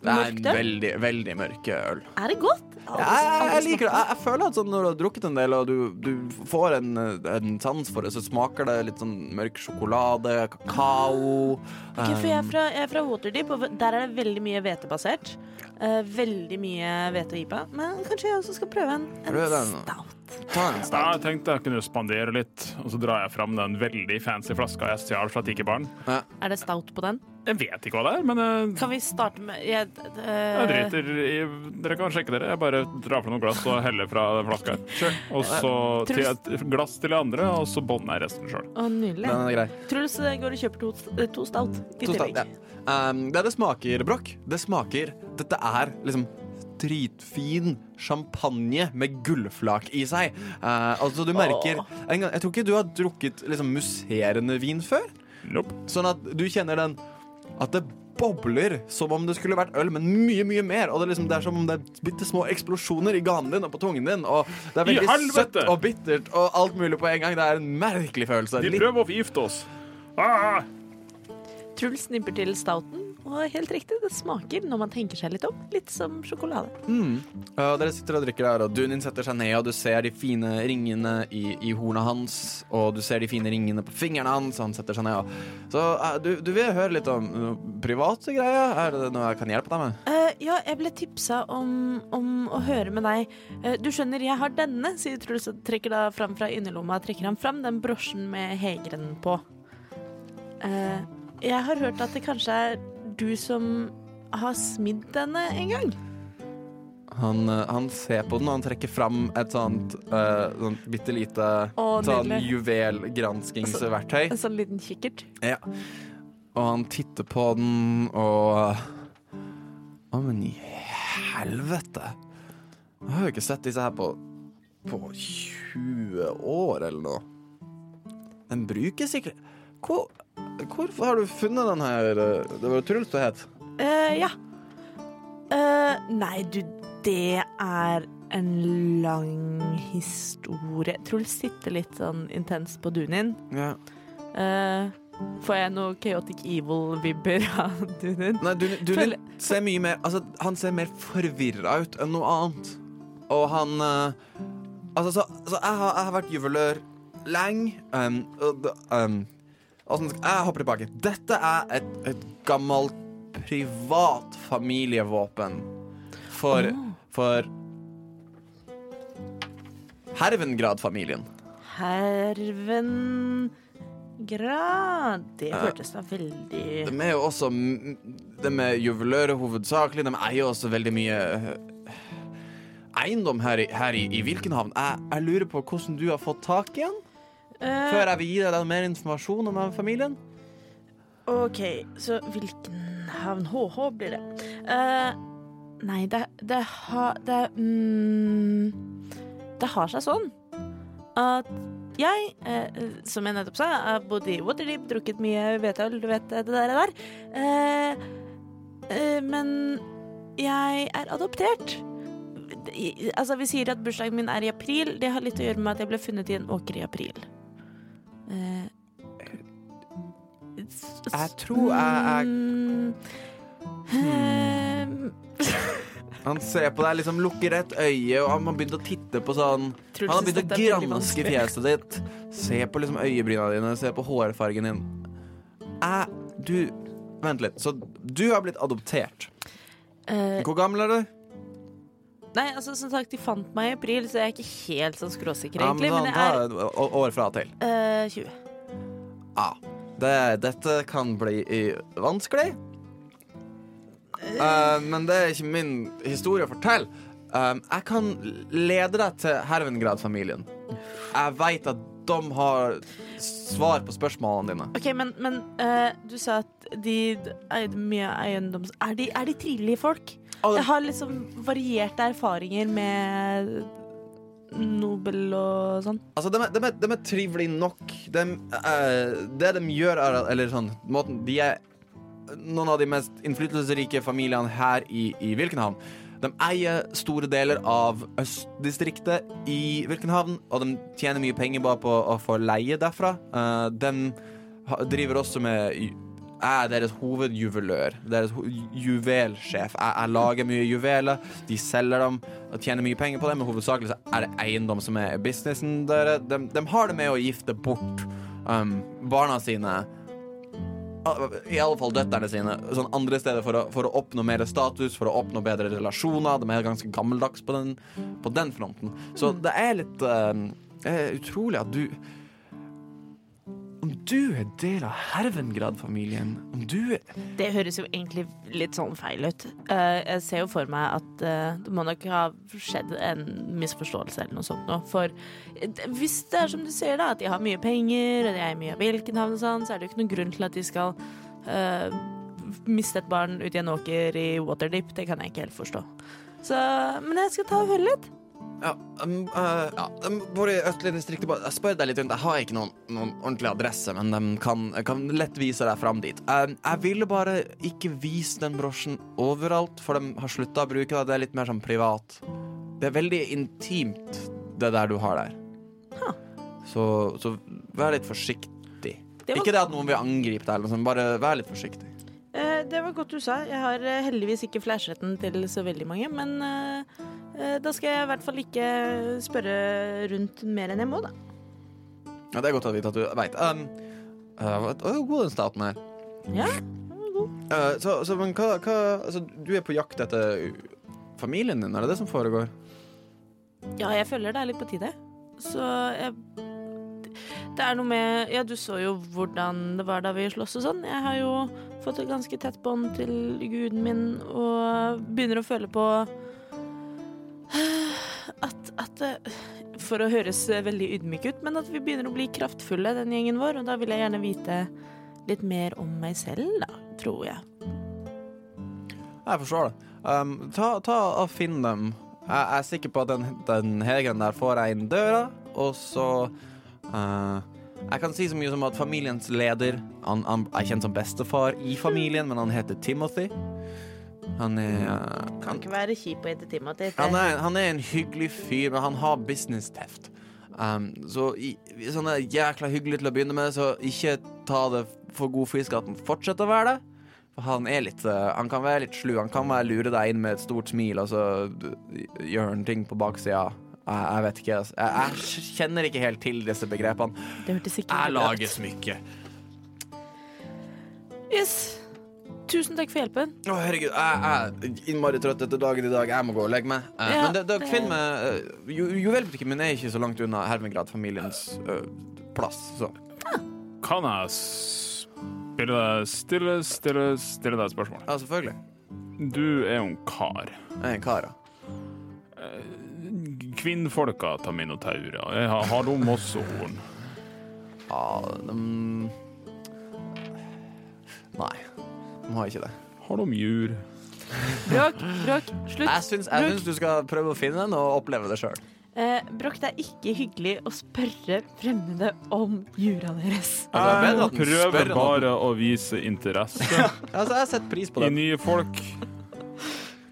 Det er
mørkt
en
øl?
veldig, veldig mørk øl.
Er sånn det godt?
Ja, jeg, jeg liker det. Jeg, jeg føler at sånn, når du har drukket en del, og du, du får en, en sans for det, så smaker det litt sånn mørk sjokolade, kakao
Ok, for jeg er
um,
fra, jeg er fra Waterdeep, og der er det veldig mye hvetebasert. Eh, veldig mye hvete og IPA. Men kanskje jeg også skal prøve en, en
Prøv den.
stout.
Ta en
Ja,
stout.
jeg tenkte jeg kunne spandere litt, og så drar jeg fram den veldig fancy flaska jeg stjal fra tikebaren.
Er det stout på den?
Jeg vet ikke hva det er, men eh,
Kan vi starte med jeg,
jeg
eh,
driter i Dere kan sjekke dere. Jeg bare drar fra noen glass og heller fra den flaska. Og så til et glass til de andre, og så bånder jeg resten sjøl.
Å, nydelig.
Den er grei.
Truls eh, går og kjøper to, eh, to stout i
To stout,
tillegg.
ja. Um, det det smaker, Brokk, det smaker Dette er liksom dritfin champagne med gullflak i seg. Uh, altså, du merker en gang, Jeg tror ikke du har drukket liksom, musserende vin før.
Nope.
Sånn at du kjenner den At det bobler som om det skulle vært øl, men mye, mye mer. Og det er, liksom, det er som om det er bitte små eksplosjoner i ganen din og på tungen din. Og det er
I
veldig
helvete!
søtt og bittert og alt mulig på en gang. Det er en merkelig følelse.
De
Litt-
prøver å forgifte oss. Ah!
Truls snipper til stouten, og helt riktig, det smaker, når man tenker seg litt om, litt som sjokolade.
Ja, mm. og dere sitter og drikker der, og Dunin setter seg ned, og du ser de fine ringene i, i hornet hans, og du ser de fine ringene på fingrene hans, og han setter seg ned, og Så eh, du, du vil høre litt om noe private greier? Er det noe jeg kan hjelpe deg med?
Eh, ja, jeg ble tipsa om, om å høre med deg. Eh, du skjønner, jeg har denne, sier Truls og trekker da fram fra innerlomma trekker han fram den brosjen med hegren på. Eh, jeg har hørt at det kanskje er du som har smidd denne en gang.
Han, eh, han ser på den, og han trekker fram et sånt, uh, sånt bitte lite
Å,
sånn
nydelig.
juvelgranskingsverktøy.
En sånn liten kikkert.
Ja.
altså.
Og han titter på den, og Å, men i helvete! Jeg har jo ikke sett disse her på på 20 år eller noe. Den bruker sikkert Hvor, Hvorfor har du funnet den her eh, Det var jo Truls det het.
Eh, ja. Eh, nei, du, det er en lang historie. Truls sitter litt sånn intenst på Dunin.
Ja.
Eh, får jeg noe Chaotic Evil-vibber av Dunin?
Nei, du, du
Føler-
ser mye mer Altså, han ser mer forvirra ut enn noe annet. Og han eh, Altså, så, så jeg, har, jeg har vært juvelør lenge. Um, og da- um, og sånn, jeg hopper tilbake. Dette er et, et gammelt privat familievåpen for, for Hervengrad-familien.
Herven Grad. Det
Eh,
hørtes da veldig
De er jo også m- De er juvelører hovedsakelig. De eier jo også veldig mye eh, eiendom her i, her i, i Vilkenhavn. Jeg, jeg lurer på hvordan du har fått tak i den?
Eh,
Før jeg vil gi deg den mer informasjon om den familien?
OK, så hvilken havn HH blir det? Eh, nei, det, det har Det mm, Det har seg sånn at jeg, eh, som jeg nettopp sa, har bodd i Waterdeep, drukket mye hvetøl, du vet det der. der. Eh, eh, men jeg er adoptert. I- Altså, vi sier at bursdagen min er i april. Det har litt å gjøre med at jeg ble funnet i en åker i april. Eh, s- s-
Jeg tror jeg- jeg-
Mm. Eh,
Han ser på deg, liksom lukker et øye, og han har begynt å titte på sånn Han
Truls
har begynt
synes
å
dette er veldig
granske
vanskelig.
fjeset ditt. Se på liksom øyebryna dine, se på hårfargen din. Æ, du Vent litt. Så du har blitt adoptert.
Eh,
Hvor gammel er du?
nei, altså som sagt, de fant meg i april, så jeg er ikke helt sånn skråsikker,
Ja,
egentlig.
men
Men
ta
jeg er
å- år fra og til.
eh, 20.
Ja. Det, dette kan bli eh, vanskelig. Eh, men det er ikke min historie å fortelle. Eh, jeg kan lede deg til Hervengrad-familien. Jeg veit at de har svar på spørsmålene dine.
OK, men, men eh, du sa at de eide mye eiendoms... Er de, er de trivelige folk?
Å, det-
Jeg har liksom varierte erfaringer med Nobel og sånn.
Altså, de, er- de, er- de er trivelige nok. De, eh, det de gjør, er at- Eller sånn måten, De er noen av de mest innflytelsesrike familiene her i, i Vilkenhavn. De eier store deler av østdistriktet i Vilkenhavn, og de tjener mye penger bare på å få leie derfra. Eh, de ha- driver også med ju- Jeg er deres hovedjuvelør. Deres ho juvelsjef. Jeg, jeg lager mye juveler. De selger dem og tjener mye penger på det, men hovedsakelig så er det eiendom som er businessen deres. De, de har det med å gifte bort um, barna sine. Ah, I alle fall døtterne sine Sånn andre steder for å, for å oppnå mer status For å oppnå bedre relasjoner De er ganske gammeldags på den, på den fronten Så det er litt eh, eh, utrolig at du Om du er del av Hervengrad-familien Om du er
Det høres jo egentlig litt sånn feil ut. Eh, jeg ser jo for meg at eh, det må nok ha skjedd en misforståelse eller noe sånt nå. For eh, det- hvis det er som du sier, da, at de har mye penger, og de er mye av Vilkenhavn og sånn, så er det jo ikke noen grunn til at de skal eh, miste et barn ut i en åker i Waterdeep. Det kan jeg ikke helt forstå. Så, men jeg skal ta og høre litt.
ja, um, eh, ja, um, Bor i østlige distriktet bare- Jeg spør deg litt rundt Jeg har ikke noen, noen ordentlig adresse Men de kan, jeg kan lett vise deg frem dit Eh, Jeg ville bare ikke vise den brosjen overalt For de har sluttet å bruke det Det er litt mer sånn privat Det er veldig intimt, det der du har der. Så, så vær litt forsiktig.
Det var-
Ikke det at noen vil angripe deg, eller noe sånt, bare vær litt forsiktig.
Eh, det var godt du sa. Jeg har eh, heldigvis ikke flasheretten til så veldig mange, men eh, eh, da skal jeg i hvert fall ikke spørre rundt mer enn jeg må, da.
Ja, det er godt å vite at du veit. Um, uh, hva- å, god den staten her.
Ja, den var god.
Uh, så, så men hva, hva altså, Du er på jakt etter familien din, er det det som foregår?
ja, jeg føler det er litt på tide. Så jeg Det er noe med Ja, du så jo hvordan det var da vi sloss og sånn. Jeg har jo fått et ganske tett bånd til guden min og begynner å føle på at, at det- For å høres veldig ydmyk ut, men at vi begynner å bli kraftfulle, den gjengen vår. Og da vil jeg gjerne vite litt mer om meg selv, da, tror jeg.
Jeg forstår det. Um, ta, ta og Finn dem. Jeg jeg er sikker på at den, den hegeren der får deg inn døra, og så uh, Jeg kan si så mye som at familiens leder han, han er kjent som bestefar i familien, men han heter Timothy. Han er uh,
Kan
han,
ikke være kjip og hete Timothy.
han er, han er en hyggelig fyr, men han har businessteft. Um, så i, hvis han er jækla hyggelig til å begynne med, så ikke ta det for god fisk at han fortsetter å være det. For han er litt uh, Han kan være litt slu. Han kan være lure deg inn med et stort smil, og så uh, gjør han ting på baksida. Jeg, jeg vet ikke. altså. Jeg, jeg kjenner ikke helt til disse begrepene.
Det hørtes ikke
Jeg
bra ut.
lager smykker.
Yes. Tusen takk for hjelpen.
Å, herregud, jeg jeg er innmari trøtt etter dagen i dag. Jeg må gå og legge meg. Eh,
Ja,
men det, det,
det-
finn meg eh, ju- Juvelbutikken min er ikke så langt unna Hermegrad-familiens eh, plass, så
Kan jeg spille deg stille, stille, stille deg et spørsmål?
Ja, selvfølgelig.
Du er jo en kar. Eh,
Jeg er en kar, ja.
Kvinnfolka tar minotaurer. Jeg Har, har de også horn?
Ja, de- Nei, de har ikke det.
Har de jur?
Bråk, bråk, slutt.
Jeg syns, jeg syns du skal prøve å finne en og oppleve det sjøl.
Eh, bråk, det er ikke hyggelig å spørre fremmede om jura deres.
Altså,
Jeg prøver bare å vise interesse
altså, jeg setter pris på
i
det.
nye folk.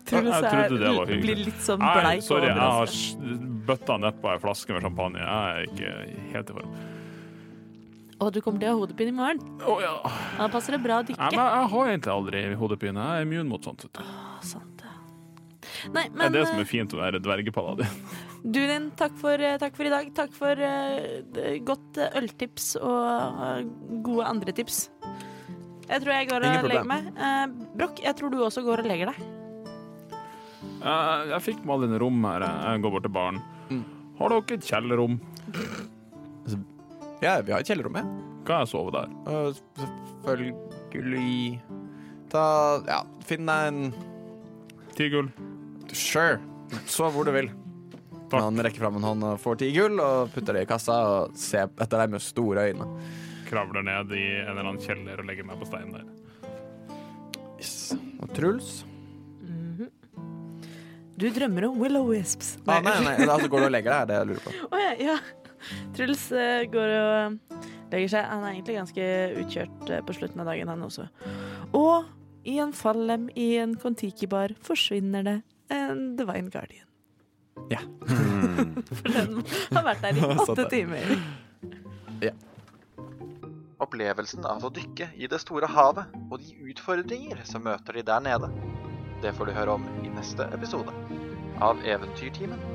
Truls
Jeg
er-
trodde det var hyggelig.
Blir litt sånn
Nei,
bleik.
sorry, jeg
over
har
det.
s- bøtta nedpå ei flaske med champagne. Jeg er ikke helt i form.
Og du kommer til å ha hodepine i morgen.
Å ja.
Da passer det bra å
Nei,
dykke.
men jeg har egentlig aldri hodepine. Jeg er immun mot sånt. vet du.
Å, sant det. Nei,
Det er
men
det som
eh,
er fint å være dvergepaladin.
Dunin, takk for, eh, takk for i dag. Takk for eh, d- godt eh, øltips og eh, gode andre tips. Jeg tror jeg går
Ingen
og legger
problem.
meg. Eh, Brokk, jeg tror du også går og legger deg.
Jeg, jeg fikk Malin rom her. Jeg går bort til baren. Har dere et kjellerrom?
Ja, vi har et kjellerrom, ja.
Kan jeg sove der?
Og selvfølgelig Ta Ja, finn deg en
Ti gull.
Sure. Sov hvor du vil.
Takk.
Han rekker fram en hånd og får ti gull, og putter det i kassa og ser etter deg med store øyne.
Kravler ned i en eller annen kjeller og legger meg på steinen der.
Yes. Og Truls
Mhm. Du drømmer om Willow Wisps.
Nei, ah, nei, nei. Altså, går du og legger deg, er det jeg lurer på.
Å ja, ja. Truls eh, går og legger seg. Han er egentlig ganske utkjørt eh, på slutten av dagen, han også. Og i en fallem i en Kon-Tiki-bar forsvinner det en Divine Guardian.
Ja.
For den har vært der i åtte timer.
Opplevelsen av å dykke i det store havet og de utfordringer som møter de der nede. Det får du høre om i neste episode av Eventyrtimen